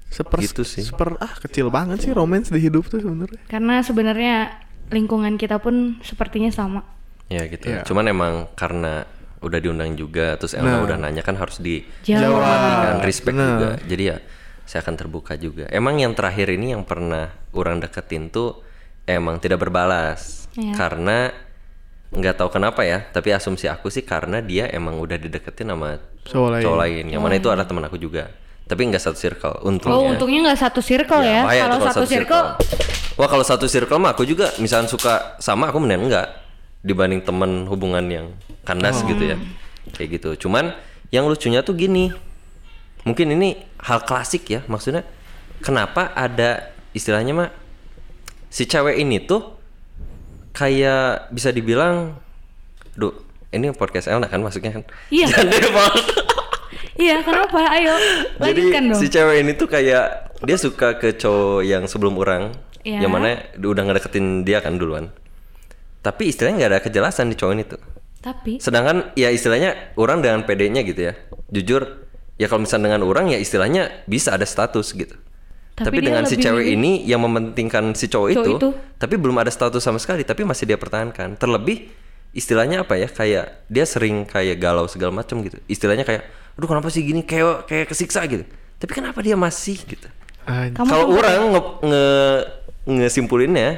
A: seper
C: Gitu sih.
A: seper ah kecil banget sih romance di hidup tuh sebenarnya
B: karena sebenarnya lingkungan kita pun sepertinya sama
C: Ya gitu.
A: Iya.
C: Cuman emang karena udah diundang juga terus Elna
A: Nah.
C: udah nanya kan harus di
B: jauh
C: kan respect
A: bener.
C: juga. Jadi ya saya akan terbuka juga. Emang yang terakhir ini yang pernah orang deketin tuh emang tidak berbalas
B: Iya.
C: karena nggak tahu kenapa ya. Tapi asumsi aku sih karena dia emang udah dideketin sama
A: Cowok lain.
C: cowok lain. Yang mana itu adalah teman aku juga. Tapi nggak satu circle. Untungnya.
B: Iya. oh untungnya nggak satu circle
C: Ya,
B: ya,
C: iya. bahaya tuh
B: kalau satu circle
C: Wah kalau satu circle mah aku juga misalnya suka sama aku mending enggak dibanding temen hubungan yang kandas gitu ya.
B: Hmm.
C: Kayak gitu. Cuman yang lucunya tuh gini. Mungkin ini hal klasik ya maksudnya kenapa ada istilahnya mah si cewek ini tuh kayak bisa dibilang duh ini podcast Elna kan maksudnya kan.
B: Iya.
C: Jadi maksud-
B: iya kenapa ayo
C: jadi
B: lanjutkan dong
C: si cewek ini tuh kayak dia suka ke cowok yang sebelum orang,
B: Iya.
C: yang mana udah ngedeketin dia kan duluan. Tapi istilahnya nggak ada kejelasan di cowok ini tuh.
B: tapi
C: Sedangkan ya istilahnya orang dengan PD-nya gitu ya. Jujur ya kalau misalnya dengan orang ya istilahnya bisa ada status gitu.
B: Tapi
C: Tapi,
B: dia
C: dengan si
B: lebih
C: cewek
B: milih-
C: ini yang mementingkan si cowok,
B: Cowok
C: itu,
B: itu.
C: tapi belum ada status sama sekali, tapi masih dia pertahankan. Terlebih istilahnya apa ya? Kayak dia sering kayak galau segala macam gitu. Istilahnya kayak, aduh kenapa sih gini? Kayak kayak kesiksa gitu. Tapi kenapa dia masih gitu?
A: Anj-
B: Kamu
C: Kalau
B: sempat-
C: orang nge, nge ngesimpulinnya,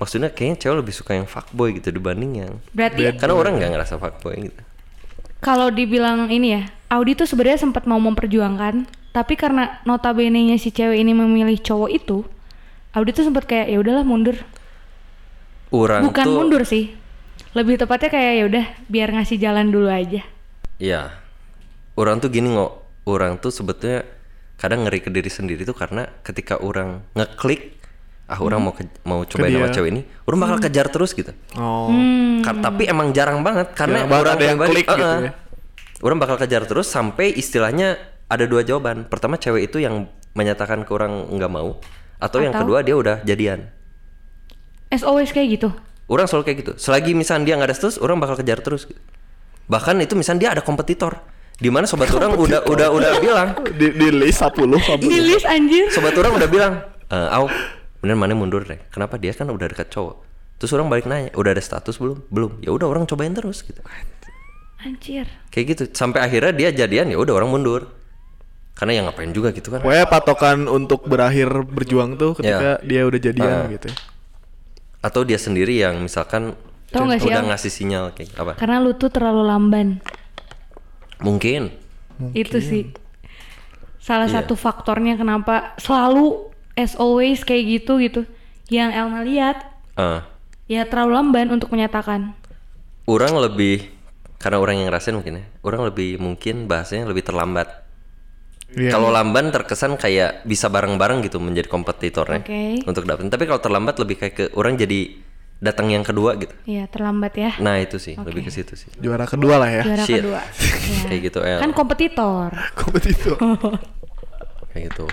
C: maksudnya kayaknya cewek lebih suka yang fuckboy gitu dibanding yang
B: berarti
C: Iya, karena orang nggak ngerasa fuckboy gitu.
B: Kalau dibilang ini ya, Audi tuh sebenarnya sempat mau memperjuangkan, tapi karena notabene-nya si cewek ini memilih cowok itu, Audi tuh sempat kayak ya udahlah mundur.
C: Orang
B: Bukan
C: tuh,
B: mundur sih. Lebih tepatnya kayak ya udah biar ngasih jalan dulu aja.
C: Iya. Orang tuh gini nggak, orang tuh sebetulnya kadang ngeri ke diri sendiri tuh karena ketika orang ngeklik, ah orang
B: Hmm.
C: mau ke- mau cobain
A: dia.
C: sama cewek ini, orang bakal kejar terus gitu.
A: oh
B: Hmm.
C: Kar- tapi emang jarang banget karena
A: Jarang banget
C: orang
A: ada yang
C: pribadi-
A: klik gitu
C: Eh, eh.
A: ya.
C: Orang bakal kejar terus sampai istilahnya ada dua jawaban. Pertama cewek itu yang menyatakan ke orang nggak mau, atau yang
B: Atau-
C: kedua dia udah jadian.
B: As always kayak gitu.
C: Orang selalu kayak gitu. Selagi misalnya dia nggak ada status, orang bakal kejar terus. Bahkan itu misalnya dia ada kompetitor. Di mana sobat orang udah udah udah bilang,
A: di, di list 10
C: ya.
A: kamu
B: Ilis anjir.
C: sobat orang udah bilang, "Eh, Au, bener mana mundur deh. Kenapa dia kan udah dekat cowok?" Terus orang balik nanya, "Udah ada status belum?" "Belum." Ya udah orang cobain terus gitu.
B: Anjir.
C: Kayak gitu. Sampai akhirnya dia jadian ya udah orang mundur. Karena ya ngapain juga gitu kan.
A: Pokoknya patokan untuk berakhir berjuang tuh ketika dia udah jadian
C: Ya. Ah.
A: gitu.
C: Atau dia sendiri yang misalkan
B: Tahu nggak sih,
C: udah
B: Al?
C: ngasih sinyal kayak apa?
B: Karena lu tuh terlalu lamban.
C: Mungkin
B: Itu sih. Salah
C: Iya.
B: satu faktornya kenapa selalu as always kayak gitu gitu. Yang Elma lihat
C: eh,
B: Ya terlalu lamban untuk menyatakan.
C: orang lebih karena orang yang ngerasain mungkin ya orang lebih mungkin bahasanya lebih terlambat
A: Iya.
C: kalau lamban terkesan kayak bisa bareng-bareng gitu menjadi kompetitornya
B: Oke.
C: untuk dapetin tapi kalau terlambat lebih kayak ke orang jadi datang yang kedua gitu
B: Iya terlambat ya.
C: nah itu sih lebih ke situ sih
A: Juara kedua lah ya.
B: Juara
C: Shit.
B: kedua. Iya.
C: kayak gitu El
B: Kan kompetitor.
A: Kompetitor.
B: Oh.
C: kayak gitu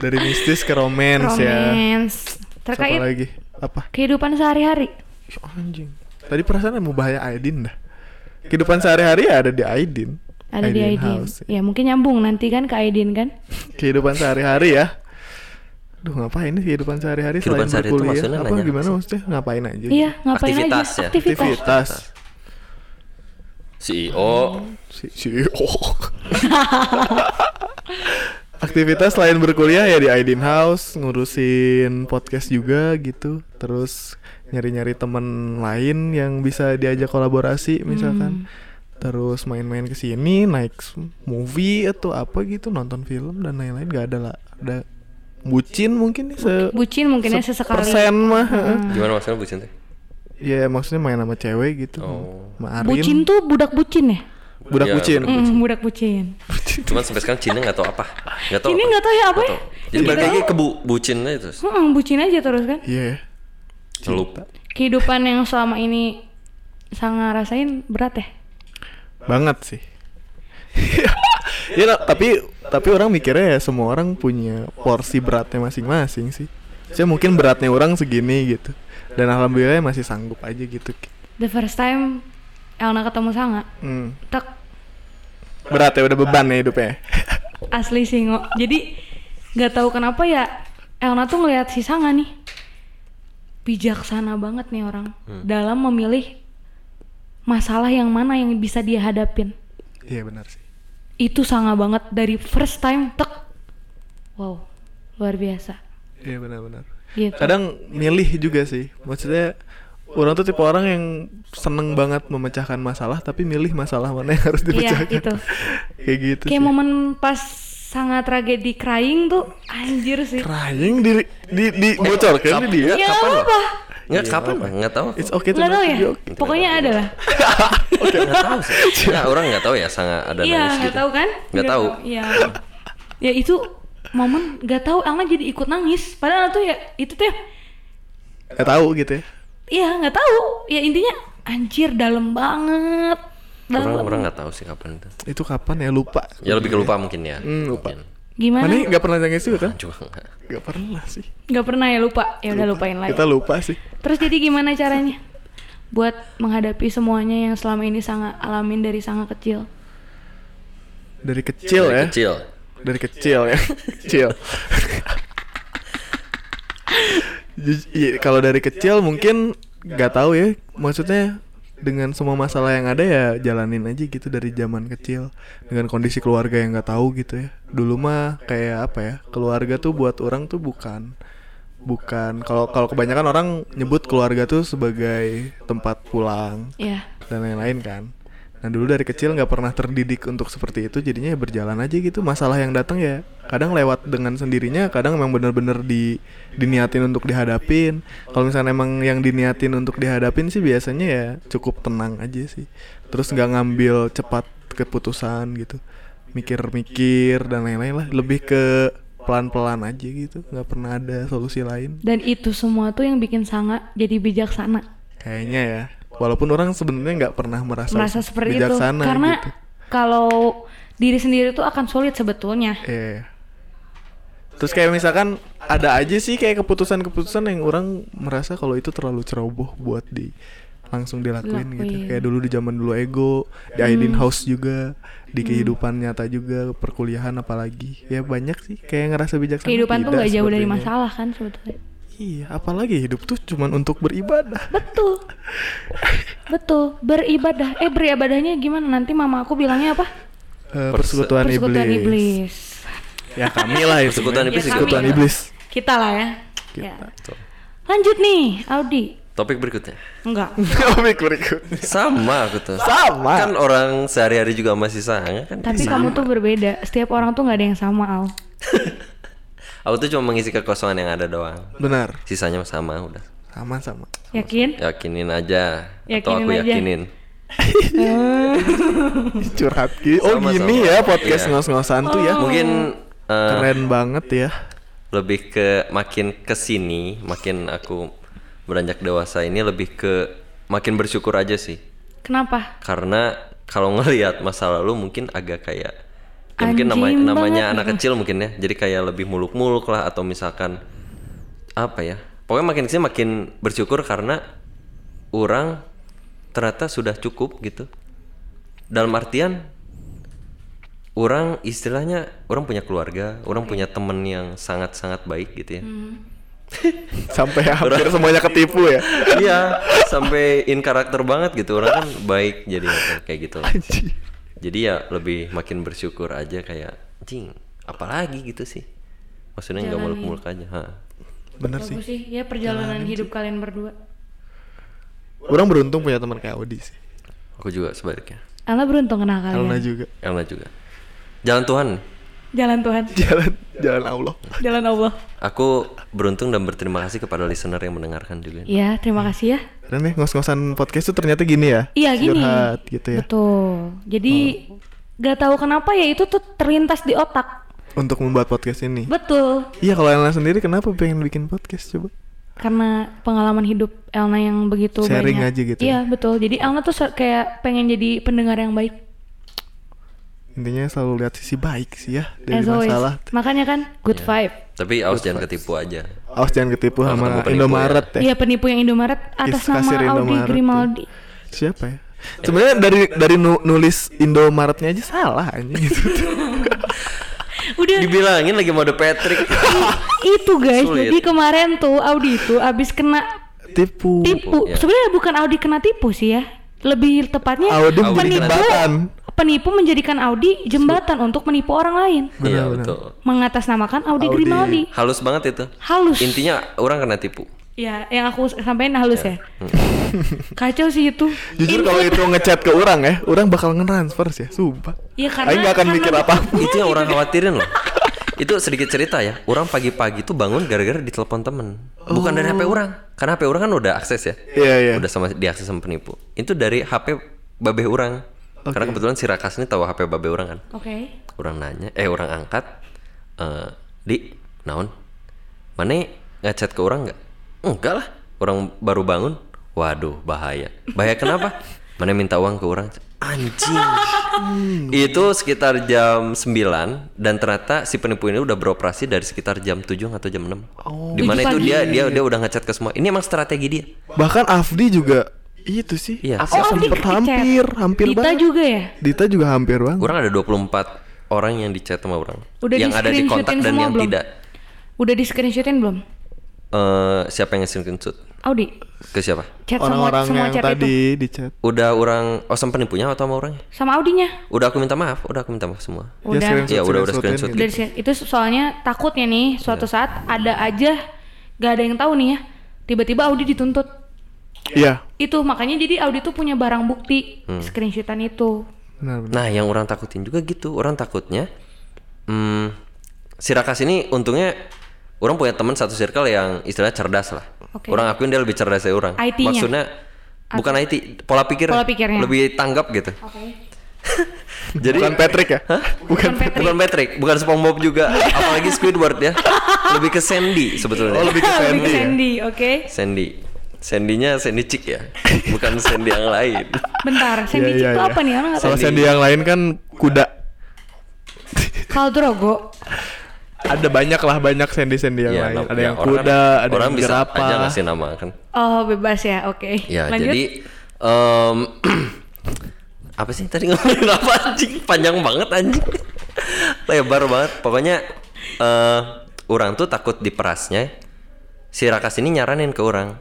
A: Dari mistis ke romance, ya.
B: Romance.
A: Terus
B: Terkait
A: Apa lagi? Apa?
B: kehidupan sehari-hari.
A: Ih, Anjing. Tadi perasaan mau bahaya Aidin dah. Kehidupan sehari-hari ya ada di Aidin.
B: Ada di Aidin.
A: House.
B: Ya mungkin nyambung nanti kan ke Aidin kan.
A: Kehidupan sehari-hari ya. Duh ngapain nih kehidupan sehari-hari
C: Kehidupan
A: selain
C: sehari itu
A: berkuliah?
C: maksudnya
A: Apa
C: nanya apa
A: gimana
C: sih?
A: maksudnya? Ngapain aja?
B: Iya ngapain
C: Aktivitas
B: aja.
C: ya.
B: Aktivitas.
A: Aktivitas.
C: CEO Hmm.
A: Si, si oh. aktivitas selain berkuliah ya di Aidin House ngurusin podcast juga gitu terus nyari-nyari temen lain yang bisa diajak kolaborasi
B: Hmm.
A: misalkan terus main-main ke sini naik s- movie atau apa gitu nonton film dan lain-lain gak ada lah ada bucin mungkin nih se
B: Bucin mungkinnya sesekali.
A: persen mah heeh.
C: Gimana maksudnya Bu Cinta?
A: ya maksudnya main sama cewek gitu
C: Oh.
A: sama Arin,
B: Bucin tuh budak bucin ya?
A: budak
C: Ya,
A: bucin
C: budak
B: Hmm, budak bucin. Mm.
C: Cuman sampai sekarang Cina nggak tahu apa. Nggak tahu.
B: Ini
C: apa.
B: nggak tahu ya apa ya?
C: Jadi balik
B: Nggak
C: lagi
B: tahu.
C: ke bu, bucinnya itu.
B: Heeh, bucin aja terus kan.
A: iya
C: Lupa.
B: Kehidupan yang selama ini sangat rasain berat ya.
A: banget sih ya lah, tapi tapi orang mikirnya ya semua orang punya porsi beratnya masing-masing sih saya mungkin beratnya orang segini gitu dan alhamdulillah masih sanggup aja gitu
B: The first time Elna ketemu Sanga,
A: hmm.
B: tak
A: berat ya udah beban ya hidupnya
B: asli singo. Jadi nggak tahu kenapa ya Elna tuh ngelihat si Sanga nih bijaksana banget nih orang dalam memilih masalah yang mana yang bisa dia hadapin.
A: iya benar sih
B: Itu Sanga banget dari first time tek. Wow, luar biasa.
A: iya benar-benar
B: Gitu.
A: kadang milih juga sih maksudnya orang tuh tipe orang yang seneng banget memecahkan masalah tapi milih masalah mana yang harus
B: Iya,
A: dipecahkan
B: gitu.
A: kayak gitu
B: Kayak
A: sih.
B: momen pas Sanga tragedi crying tuh anjir sih.
A: crying di di, di bocorkan di dia
B: Ya nggak
C: kapan lo?
B: apa-apa.
C: Nggak kapan lah, nggak tahu.
A: It's okay to
B: Nggak tahu
A: not
B: ya.
A: be okay.
B: Pokoknya ada lah.
C: Nggak tahu sih. Ya orang nggak tahu ya sangat ada
B: Iya,
C: nangis
B: nggak
C: gitu.
B: tahu kan?
C: Nggak tahu.
B: Iya. ya itu momen nggak tahu Angga jadi ikut nangis. Padahal tuh ya itu tuh ya,
A: Nggak tahu gitu ya.
B: ya nggak tahu. Ya intinya anjir dalam banget. Dalam
C: Orang orang
B: banget.
C: nggak tahu sih kapan itu.
A: Itu kapan ya lupa.
C: Ya lebih ke lupa mungkin ya.
A: Hmm, lupa.
C: Mungkin.
B: Gimana?
A: Mana nggak pernah nangis juga kan?
C: Juga nggak.
A: Nggak pernah sih.
B: Nggak pernah ya lupa. Ya udah lupain lagi.
A: Kita lupa sih.
B: Terus jadi gimana caranya buat menghadapi semuanya yang selama ini sangat alamin dari sangat kecil?
A: Dari kecil
C: Dari
A: ya.
C: Kecil.
A: Dari kecil ya. kecil. Ju- iya, Kalau dari kecil mungkin nggak tahu ya. Maksudnya dengan semua masalah yang ada ya jalanin aja gitu dari zaman kecil dengan kondisi keluarga yang nggak tahu gitu ya dulu mah kayak apa ya keluarga tuh buat orang tuh bukan bukan kalau kalau kebanyakan orang nyebut keluarga tuh sebagai tempat pulang
B: Ya.
A: dan lain-lain kan. Nah dulu dari kecil nggak pernah terdidik untuk seperti itu, jadinya ya berjalan aja gitu. Masalah yang datang ya kadang lewat dengan sendirinya, kadang memang bener-bener di diniatin untuk dihadapin. Kalau misalnya emang yang diniatin untuk dihadapin sih biasanya ya cukup tenang aja sih. Terus nggak ngambil cepat keputusan gitu, mikir-mikir dan lain-lain lah. Lebih ke pelan-pelan aja gitu, nggak pernah ada solusi lain.
B: Dan itu semua tuh yang bikin sangat jadi bijaksana.
A: Kayaknya ya. Walaupun orang sebenarnya nggak pernah merasa,
B: merasa seperti itu
A: bijaksana
B: karena
A: gitu.
B: kalau diri sendiri tuh akan sulit sebetulnya
A: Iya. Terus kayak misalkan ada aja sih kayak keputusan-keputusan yang orang merasa kalau itu terlalu ceroboh buat di langsung dilakuin gitu.
B: Lakuin. Hmm.
A: Kayak dulu di zaman dulu ego, di Aidin House juga, di kehidupan nyata juga, perkuliahan apalagi. Ya banyak sih kayak ngerasa bijaksana.
B: kehidupan tuh
A: tidak
B: nggak jauh dari
A: sepertinya.
B: masalah kan sebetulnya
A: Iya, apalagi hidup tuh cuman untuk beribadah.
B: betul betul beribadah eh beribadahnya gimana nanti mama aku bilangnya apa
A: Eh, persekutuan,
B: persekutuan
A: iblis.
B: iblis,
A: Ya kami lah itu.
C: Persekutuan
B: Ya,
C: iblis,
B: kami
A: Persekutuan
B: lah.
A: iblis.
B: kita lah ya Ya.
C: Betul.
B: lanjut nih Audi
C: Topik berikutnya.
B: enggak
A: Topik berikutnya.
C: Sama aku tuh.
A: Sama.
C: Kan orang sehari-hari juga masih sangat kan.
B: tapi kamu tuh berbeda setiap orang tuh nggak ada yang sama Al
C: Aku tuh cuma mengisi kekosongan yang ada doang.
A: Benar.
C: Sisanya sama udah.
A: Sama-sama.
B: yakin
C: Yakinin aja
B: Yakinin
C: atau aku
B: aja.
C: yakinin.
A: Iya.
B: Eh,
A: curhat gitu. Oh
C: Sama-sama.
A: gini ya podcast
C: Iya.
A: ngos-ngosan tuh ya.
C: Mungkin eh,
A: Keren banget ya.
C: lebih ke makin kesini, makin aku beranjak dewasa ini lebih ke makin bersyukur aja sih.
B: kenapa
C: Karena kalau ngelihat masa lalu mungkin agak kayak ya mungkin nama-
B: Anjing
C: namanya
B: banget. gitu.
C: anak kecil mungkin ya. Jadi kayak lebih muluk-muluk lah atau misalkan apa ya? Pokoknya makin kesini makin bersyukur karena orang ternyata sudah cukup gitu. Dalam artian orang istilahnya orang punya keluarga, orang punya temen yang sangat-sangat baik gitu ya.
B: Hmm.
A: Sampai hampir semuanya ketipu ya.
C: Iya, sampai in karakter banget gitu. Orang kan baik jadi kayak gitu. lah.
A: Anjir.
C: Jadi ya lebih makin bersyukur aja kayak anjing. apalagi gitu sih maksudnya nggak
B: Jalanin.
C: muluk-muluk aja ha.
A: bener sih
B: Bagus sih, ya perjalanan hidup kalian berdua.
A: orang beruntung punya teman kayak Odi sih
C: aku juga sebaliknya
B: Ala beruntung kenal kalian.
A: Alna juga
C: Elna juga jalan Tuhan
B: Jalan Tuhan,
A: jalan jalan Allah
B: jalan Allah.
C: aku beruntung dan berterima kasih kepada listener yang mendengarkan juga
B: Ya, terima kasih ya.
A: keren ya ngos-ngosan podcast tuh ternyata gini ya
B: Iya gini.
A: curhat gitu ya Oh.
B: Betul. Jadi gak tahu kenapa ya itu tuh terlintas di otak.
A: untuk membuat podcast ini
B: Betul.
A: iya kalau Elna sendiri kenapa pengen bikin podcast coba
B: Karena pengalaman hidup Elna yang begitu
A: Sharing
B: banyak.
A: aja gitu ya?
B: Iya, betul. Jadi Elna tuh se- kayak pengen jadi pendengar yang baik.
A: intinya selalu lihat sisi baik sih ya dari
B: As always.
A: masalah Iya.
B: Makanya kan good vibe.
C: tapi awas jangan ketipu aja
A: awas jangan ketipu
C: Kalau
A: sama
C: ketemu penipu
A: Indomaret ya.
B: Iya, penipu yang Indomaret atas
A: Is- kasir
B: nama Audi
A: Indomaret,
B: Grimaldi.
A: siapa ya sebenarnya dari dari nu- nulis Indomaretnya aja salah anjing gitu
B: Udah
C: dibilangin lagi mode Patrick Iya,
B: itu guys.
C: Sulit.
B: Jadi kemarin tuh Audi itu abis kena
A: tipu
B: tipu.
C: ya.
B: Sebenarnya bukan Audi kena tipu sih ya. Lebih tepatnya
A: Audi
C: Audi
A: menjadi
C: kena-
A: jembatan
B: penipu menjadikan Audi jembatan untuk menipu orang lain.
C: iya
A: Benar-benar.
C: betul
B: Mengatasnamakan
A: Audi.
B: Audi, Grimaldi.
C: halus banget itu
B: Halus.
C: intinya orang kena tipu
B: Ya, yang aku sampaikan halus ya. Kacau sih itu.
A: jujur kalau itu ngechat ke orang ya orang bakal nge-transfer sih ya sumpah
B: Iya, karena-
A: Aing nggak akan
B: karena- Iya.
A: mikir apa
C: itu yang
A: Gitu.
C: orang khawatirin loh itu sedikit cerita ya orang pagi-pagi tuh bangun gara-gara ditelepon temen bukan dari HP orang karena HP orang kan udah akses ya
A: Oh. iya iya
C: udah sama diakses sama penipu itu dari HP babe orang karena kebetulan si Rakas ini tahu HP babe orang kan
B: Oke.
C: orang nanya eh orang angkat eh di naon mana ngechat ke orang nggak enggak lah orang baru bangun waduh bahaya bahaya kenapa mana minta uang ke orang anjing itu sekitar jam 9 dan ternyata si penipu ini udah beroperasi dari sekitar jam 7 atau jam 6
B: Oh,
C: dimana itu dia dia dia udah ngechat ke semua ini emang strategi dia
A: bahkan Afdi juga itu sih
C: Iya.
A: Afdi
B: Oh, Audi
A: sempet
B: dicat.
A: hampir hampir
B: Dita
A: banget
B: juga ya?
A: Dita juga hampir banget
C: kurang ada 24 orang yang di chat sama orang
B: Udah
C: yang ada di kontak
B: di-screenshotin
C: dan
B: semua
C: yang
B: belum?
C: tidak
B: Udah di screenshotin belum?
C: Eh, siapa yang nge-screenshot
B: Audi,
C: ke siapa
B: chat
A: orang-orang
B: semua, semua
A: yang
B: chat
A: tadi
B: itu.
A: di chat
C: udah orang oh sama penipunya atau sama orangnya
B: Sama Audinya.
C: udah aku minta maaf udah aku minta maaf semua
A: Ya,
B: Udah.
A: screenshot-
C: Iya, udah- udah
A: screenshotin gitu.
C: screenshot.
B: Udah di screen- Itu soalnya takutnya nih suatu
A: Iya.
B: saat ada aja gak ada yang tahu nih ya. Tiba-tiba Audi dituntut.
A: gitu. iya
B: Itu makanya jadi Audi tuh punya barang bukti
A: Hmm.
B: screenshotan itu.
A: benar-benar
C: nah yang orang takutin juga gitu orang takutnya hmm, Sirakas ini untungnya orang punya teman satu circle yang istilahnya cerdas lah
B: Oke.
C: orang akuin dia lebih cerdas dari orang
B: IT-nya?
C: maksudnya bukan IT pola pikir
B: Pola pikirnya.
C: lebih tanggap gitu
B: Oke.
C: jadi
A: bukan Patrick ya bukan
B: Bukan Patrick.
C: bukan Patrick bukan SpongeBob juga apalagi Squidward ya lebih ke Sandy sebetulnya
A: oh lebih ke
B: Lebih
A: Sandy
B: ke
A: ya
B: Sandy, oke.
C: Sandy Sandy-nya Sandy Chick ya bukan Sandy yang lain
B: Bentar, Sandy
A: Iya,
B: Chick
A: iya,
B: itu
A: iya.
B: apa nih? Orang nggak tahu.
A: Kalau Sandy yang lain kan kuda.
B: Kaldrogo.
A: Ada banyak lah banyak Sandy-Sandy yang
C: Iya,
A: lain.
C: nah,
A: Ada
C: ya,
A: yang
C: orang
A: kuda,
C: kan-
A: ada
C: orang
A: yang
C: bisa
A: jerapah.
C: aja ngasih nama kan.
B: Oh, bebas ya. Oke.
A: Iya,
C: Ya,
B: Lanjut.
C: jadi em, apa sih tadi ngomongin apa anjing? Panjang banget anjing. Lebar banget. Pokoknya eh orang tuh takut diperasnya. Si Rakas ini nyaranin ke orang,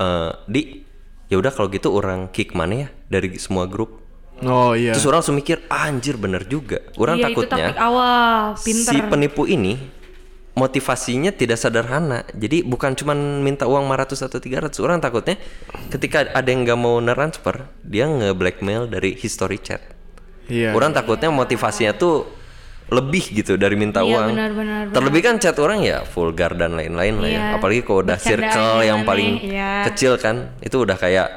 C: eh, "Di, ya udah kalau gitu orang kick mana ya dari semua grup?"
A: Oh iya.
C: Terus orang langsung mikir, "Ah, "Anjir, bener juga." Orang
B: Iya, itu taktik
C: takutnya
B: awal, pinter.
C: si penipu ini motivasinya tidak sederhana. Jadi bukan cuman minta uang 500 atau 300. Orang takutnya ketika ada yang nggak mau transfer, dia nge-blackmail dari history chat.
A: Iya.
C: Orang takutnya motivasinya tuh lebih gitu dari minta
B: Iya,
C: uang.
B: benar, benar, benar.
C: Terlebih kan chat orang ya vulgar dan lain-lain lah ya.
B: Iya.
C: Apalagi kalau udah
B: Bercandaan
C: circle yang
B: yang
C: paling
B: aneh, iya.
C: kecil kan, itu udah kayak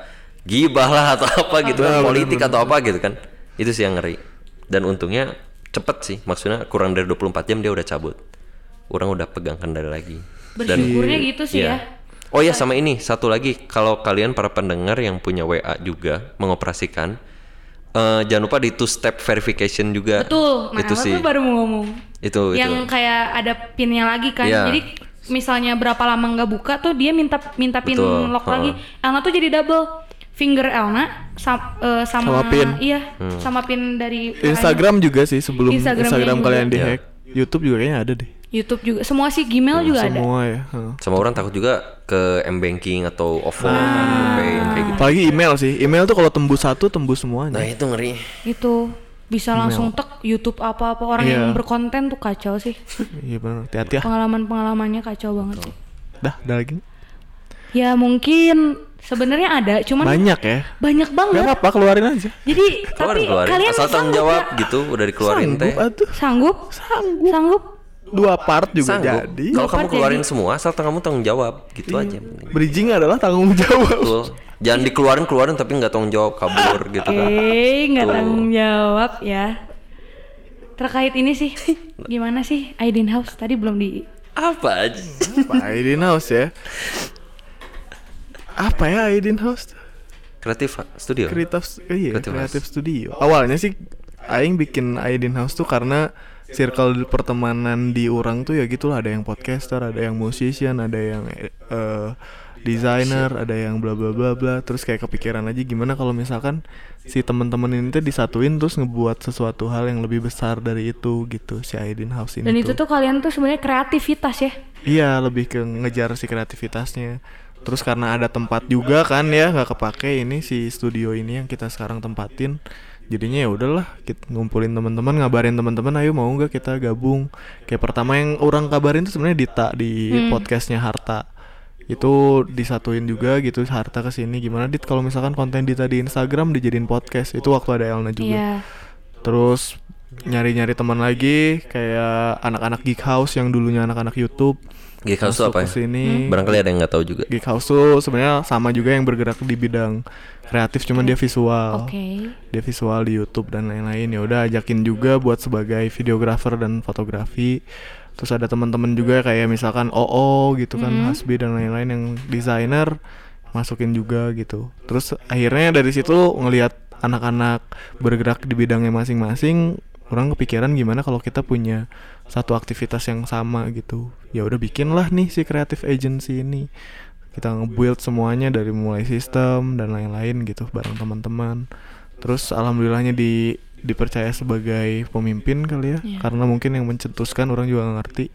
C: gibah lah atau apa gitu kan, politik atau apa gitu kan. Itu sih yang ngeri. Dan untungnya cepet sih, maksudnya kurang dari 24 jam dia udah cabut. Orang udah pegang kendali lagi.
B: Bersyukurnya gitu sih
C: Iya.
B: ya.
C: Oh iya sama ini satu lagi kalau kalian para pendengar yang punya WA juga mengoperasikan eh, jangan lupa di two step verification juga.
B: Betul. Nah,
C: itu
B: aku
C: sih.
B: baru mau ngomong.
C: Itu
B: yang
C: itu.
B: kayak ada pinnya lagi kan.
C: Iya.
B: Jadi misalnya berapa lama nggak buka tuh dia minta minta pin
C: Betul,
B: lock
C: ha.
B: lagi. Elna tuh jadi double finger Elna sam- eh, sama,
A: Sama pin.
B: iya
C: Hmm.
B: sama pin dari
A: Instagram juga sih sebelum
B: Instagramnya
A: Instagram
B: juga.
A: kalian
C: Iya.
A: dihack. YouTube juga kayaknya ada deh.
B: YouTube juga semua sih Gmail juga ada.
A: Semua ya. heeh.
C: Sama orang takut juga ke m banking atau OVO,
B: Nah.
C: GoPay, yang kayak gitu.
A: Nah,
C: iya.
A: Apalagi email sih. Email tuh kalau tembus satu tembus semuanya.
C: Nah itu ngeri.
B: Gitu. bisa langsung tek YouTube apa-apa orang
A: Iya.
B: yang berkonten tuh kacau sih
A: Iya benar. Hati-hati ya.
B: pengalaman-pengalamannya kacau banget sih.
A: Dah, ada lagi.
B: Ya mungkin sebenarnya ada, cuman
A: Banyak ya.
B: banyak
A: Gak
B: banget.
A: apa-apa keluarin aja.
B: Jadi
C: keluarin
B: tapi
C: keluarin
B: kalian
C: asal tanggung
B: sanggup
C: jawab
B: nggak?
C: gitu udah dikeluarin teh
A: Sanggup atuh.
B: Sanggup?
A: Sanggup.
B: Sanggup?
A: Dua part juga
C: sanggup
A: jadi. Iya.
C: kalau
B: Bapak
C: kamu keluarin
B: jadi-
C: semua asal kamu tanggung jawab gitu aja yang penting.
A: Bridging adalah tanggung jawab.
C: Betul. jangan dikeluarin keluarin tapi nggak tanggung jawab kabur gitu
B: Oke,
C: kan
B: nggak
C: Tuh.
B: tanggung jawab ya. Terkait ini sih, gimana sih Aiden House tadi belum di
C: apa aja
A: Apa Aiden House ya? Apa ya Aiden House?
C: kreatif studio
A: Creative, iya,
C: Creative
A: creative,
C: House.
A: Studio. Awalnya sih Aing bikin Aiden House tuh karena circle pertemanan di orang tuh ya gitulah ada yang podcaster, ada yang musician, ada yang eh, designer, ada yang bla bla bla bla. Terus kayak kepikiran aja gimana kalau misalkan si teman-teman ini tuh disatuin terus ngebuat sesuatu hal yang lebih besar dari itu gitu si Aiden House ini.
B: dan itu tuh kalian tuh sebenarnya kreativitas ya.
A: Iya lebih ke ngejar si kreativitasnya Terus karena ada tempat juga kan ya nggak kepake ini si studio ini yang kita sekarang tempatin Jadinya ya udahlah kita ngumpulin teman-teman ngabarin teman-teman ayo mau nggak kita gabung Kayak pertama yang orang kabarin tuh sebenarnya Dita di podcastnya Harta itu disatuin juga gitu Harta kesini gimana dit kalau misalkan konten Dita di Instagram dijadiin podcast itu waktu ada Elna juga
B: Iya.
A: terus nyari-nyari teman lagi kayak anak-anak geek house yang dulunya anak-anak YouTube
C: Geek House tuh
A: masuk ke
C: apa ya?
A: sini Gitu.
C: barangkali ada yang nggak tahu juga
A: geek house tuh sebenarnya sama juga yang bergerak di bidang kreatif cuman dia visual
B: Oke.
A: dia visual di YouTube dan lain-lain ya udah ajakin juga buat sebagai videografer dan fotografi terus ada teman-teman juga kayak misalkan OO gitu kan Hasbi dan lain-lain yang desainer masukin juga gitu terus akhirnya dari situ ngelihat anak-anak bergerak di bidangnya masing-masing orang kepikiran gimana kalau kita punya satu aktivitas yang sama gitu ya udah bikinlah nih si creative agency ini kita nge-build semuanya dari mulai sistem dan lain-lain gitu bareng teman-teman terus alhamdulillahnya di dipercaya sebagai pemimpin kali ya
B: Iya.
A: karena mungkin yang mencetuskan orang juga nggak ngerti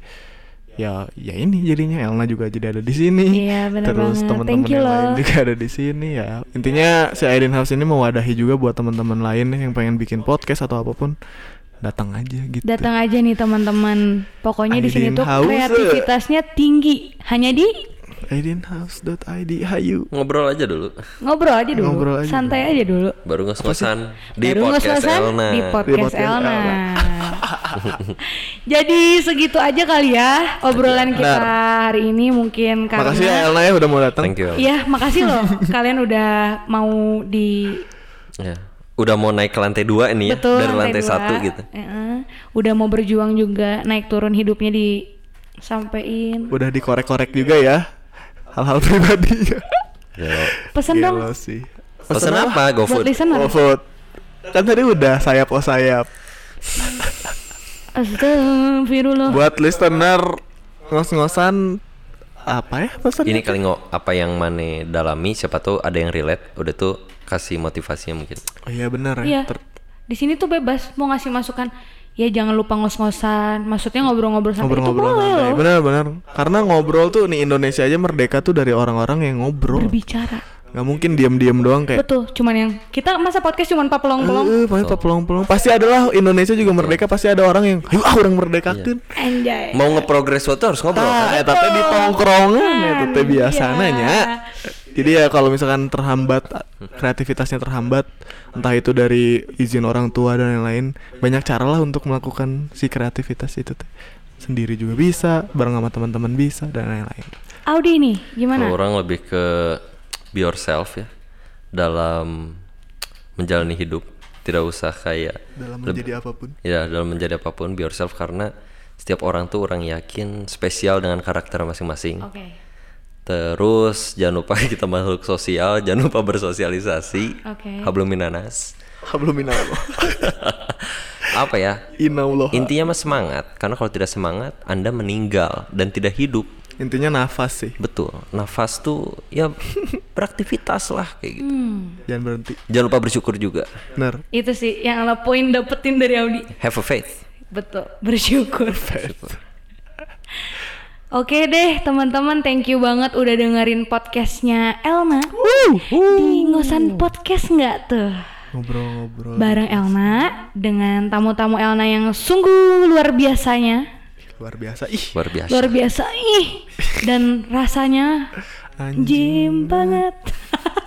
A: ya ya ini jadinya Elna juga jadi ada di sini
B: Iya, benar
A: terus
B: banget.
A: teman-teman
B: Thank you
A: yang lain
B: loh.
A: juga ada di sini ya intinya si Aiden House ini mewadahi juga buat teman-teman lain yang pengen bikin podcast atau apapun datang aja gitu
B: Datang aja nih teman-teman. Pokoknya di sini
A: Aiden
B: tuh
A: House.
B: kreativitasnya tinggi. Hanya di
A: aidenhouse.id hayu
C: ngobrol aja dulu
B: ngobrol aja dulu.
A: Ngobrol aja
B: santai aja dulu.
C: baru ngos-ngosan di
B: Baru
C: podcast
B: ngos-ngosan Di
C: Elna
A: Di
B: podcast
A: podcast
B: Elna.
A: Elna.
B: Jadi segitu aja kali ya obrolan kita hari ini mungkin karena
A: makasih ya Elna ya udah mau datang
C: thank you Elna.
B: Iya, makasih loh kalian udah mau di
C: Ya. udah mau naik ke lantai dua ini ya
B: betul
C: dari lantai
B: dua.
C: satu gitu
B: Heeh. Udah mau berjuang juga naik turun hidupnya di sampein.
A: udah dikorek-korek juga ya hal-hal pribadi
C: Ya.
B: Pesen dong
A: Gila sih
C: pesan apa
B: buat
C: GoFood
B: listener.
A: GoFood kan tadi udah sayap oh sayap
B: Astagfirullah.
A: buat listener ngos-ngosan apa ya pesan
C: ini kali ngo apa yang mane dalami siapa tuh ada yang relate udah tuh kasih motivasinya mungkin
A: oh iya benar
B: Iya.
A: ya ter-
B: Di sini tuh bebas mau ngasih masukan. Ya jangan lupa ngos-ngosan. Maksudnya ngobrol-ngobrol santai
A: ngobrol-ngobrol
B: itu boleh
A: santai
B: loh.
A: benar-benar Iya, karena ngobrol tuh nih Indonesia aja merdeka tuh dari orang-orang yang ngobrol
B: Berbicara.
A: nggak mungkin diam-diam doang kayak
B: Betul, cuman yang kita masa podcast cuman papelong-pelong.
A: Eh, eh, pokoknya pelong-pelong pasti adalah Indonesia juga merdeka pasti ada orang yang ayo ah orang merdeka kan
C: Eh.
B: Anjay.
C: mau ngeprogress waktu harus ngobrol
A: Nah,
C: kan?
A: eta teh di tongkrongan eta teh biasana
B: iya.
A: nya. Jadi ya kalau misalkan terhambat kreativitasnya terhambat entah itu dari izin orang tua dan lain-lain, banyak cara lah untuk melakukan si kreativitas itu teh. Sendiri juga bisa, bareng sama teman-teman bisa dan lain-lain.
B: Audi nih, gimana?
C: Kalau orang lebih ke be yourself ya dalam menjalani hidup tidak usah kayak
A: Dalam
C: Leb-
A: menjadi apapun.
C: ya dalam menjadi apapun be yourself karena setiap orang tuh orang yakin spesial dengan karakter masing-masing
B: Oke.
C: terus jangan lupa kita makhluk sosial jangan lupa bersosialisasi
B: Oke.
C: hablum minanas
A: Hablum minallah.
C: apa ya
A: Inallah.
C: intinya mah semangat karena kalau tidak semangat anda meninggal dan tidak hidup
A: Intinya nafas sih,
C: betul nafas tuh ya beraktivitas lah kayak
B: Hmm.
C: gitu
A: jangan berhenti.
C: jangan lupa bersyukur juga
A: Benar.
B: Itu sih yang ala poin dapetin dari Audi.
C: have a faith
B: Betul, bersyukur. Oke deh teman-teman, thank you banget udah dengerin podcastnya Elna. Di ngosan podcast nggak tuh?
A: ngobrol-ngobrol.
B: bareng Elna dengan tamu-tamu Elna yang sungguh luar biasanya.
A: Luar biasa. Ih,
C: luar biasa
B: Luar biasa ih dan rasanya jim banget.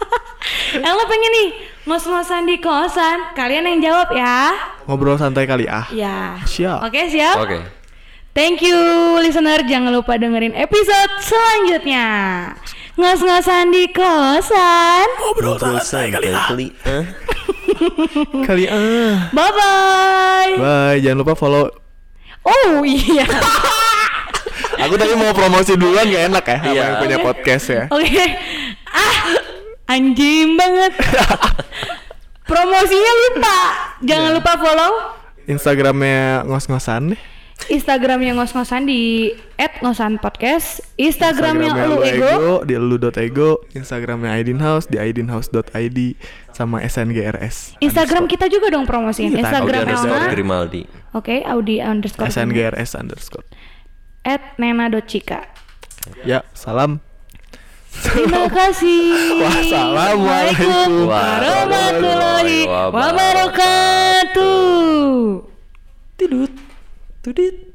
B: Elna pengen nih ngos-ngosan di kosan. Kalian yang jawab ya.
A: Ngobrol santai kali ah.
B: Ya.
A: Siap.
B: Oke, siap.
C: oke
B: Thank you listener, jangan lupa dengerin episode selanjutnya. Ngos-ngosan di kosan.
A: Ngobrol santai kali ah. Kali ah.
B: Bye bye.
A: Bye, jangan lupa follow.
B: Oh iya.
A: Aku tadi mau promosi duluan gak enak ya, sama
C: Iya.
A: yang punya
B: Oke.
A: podcast ya.
B: Oke. Ah, anjing banget. Promosinya lupa. Jangan
A: Iya.
B: lupa follow
A: Instagramnya ngos-ngosan deh.
B: Instagramnya ngos-ngosan di @ngosanpodcast. Instagramnya lu ego.
A: di elu.ego, Instagramnya aidinhouse di aidinhouse.id sama sngrs.
B: Instagram kita juga dong
A: Iya,
B: promosiin.
C: Audi
B: Instagram
C: underscore
B: Elna.
C: Grimaldi
B: Oke, Audi underscore.
A: sngrs underscore.
B: At Nena Docika.
A: Ya, salam.
B: Terima kasih.
A: Wassalamualaikum
B: warahmatullahi
C: warahmatullahi
B: wabarakatuh.
C: tidut tudit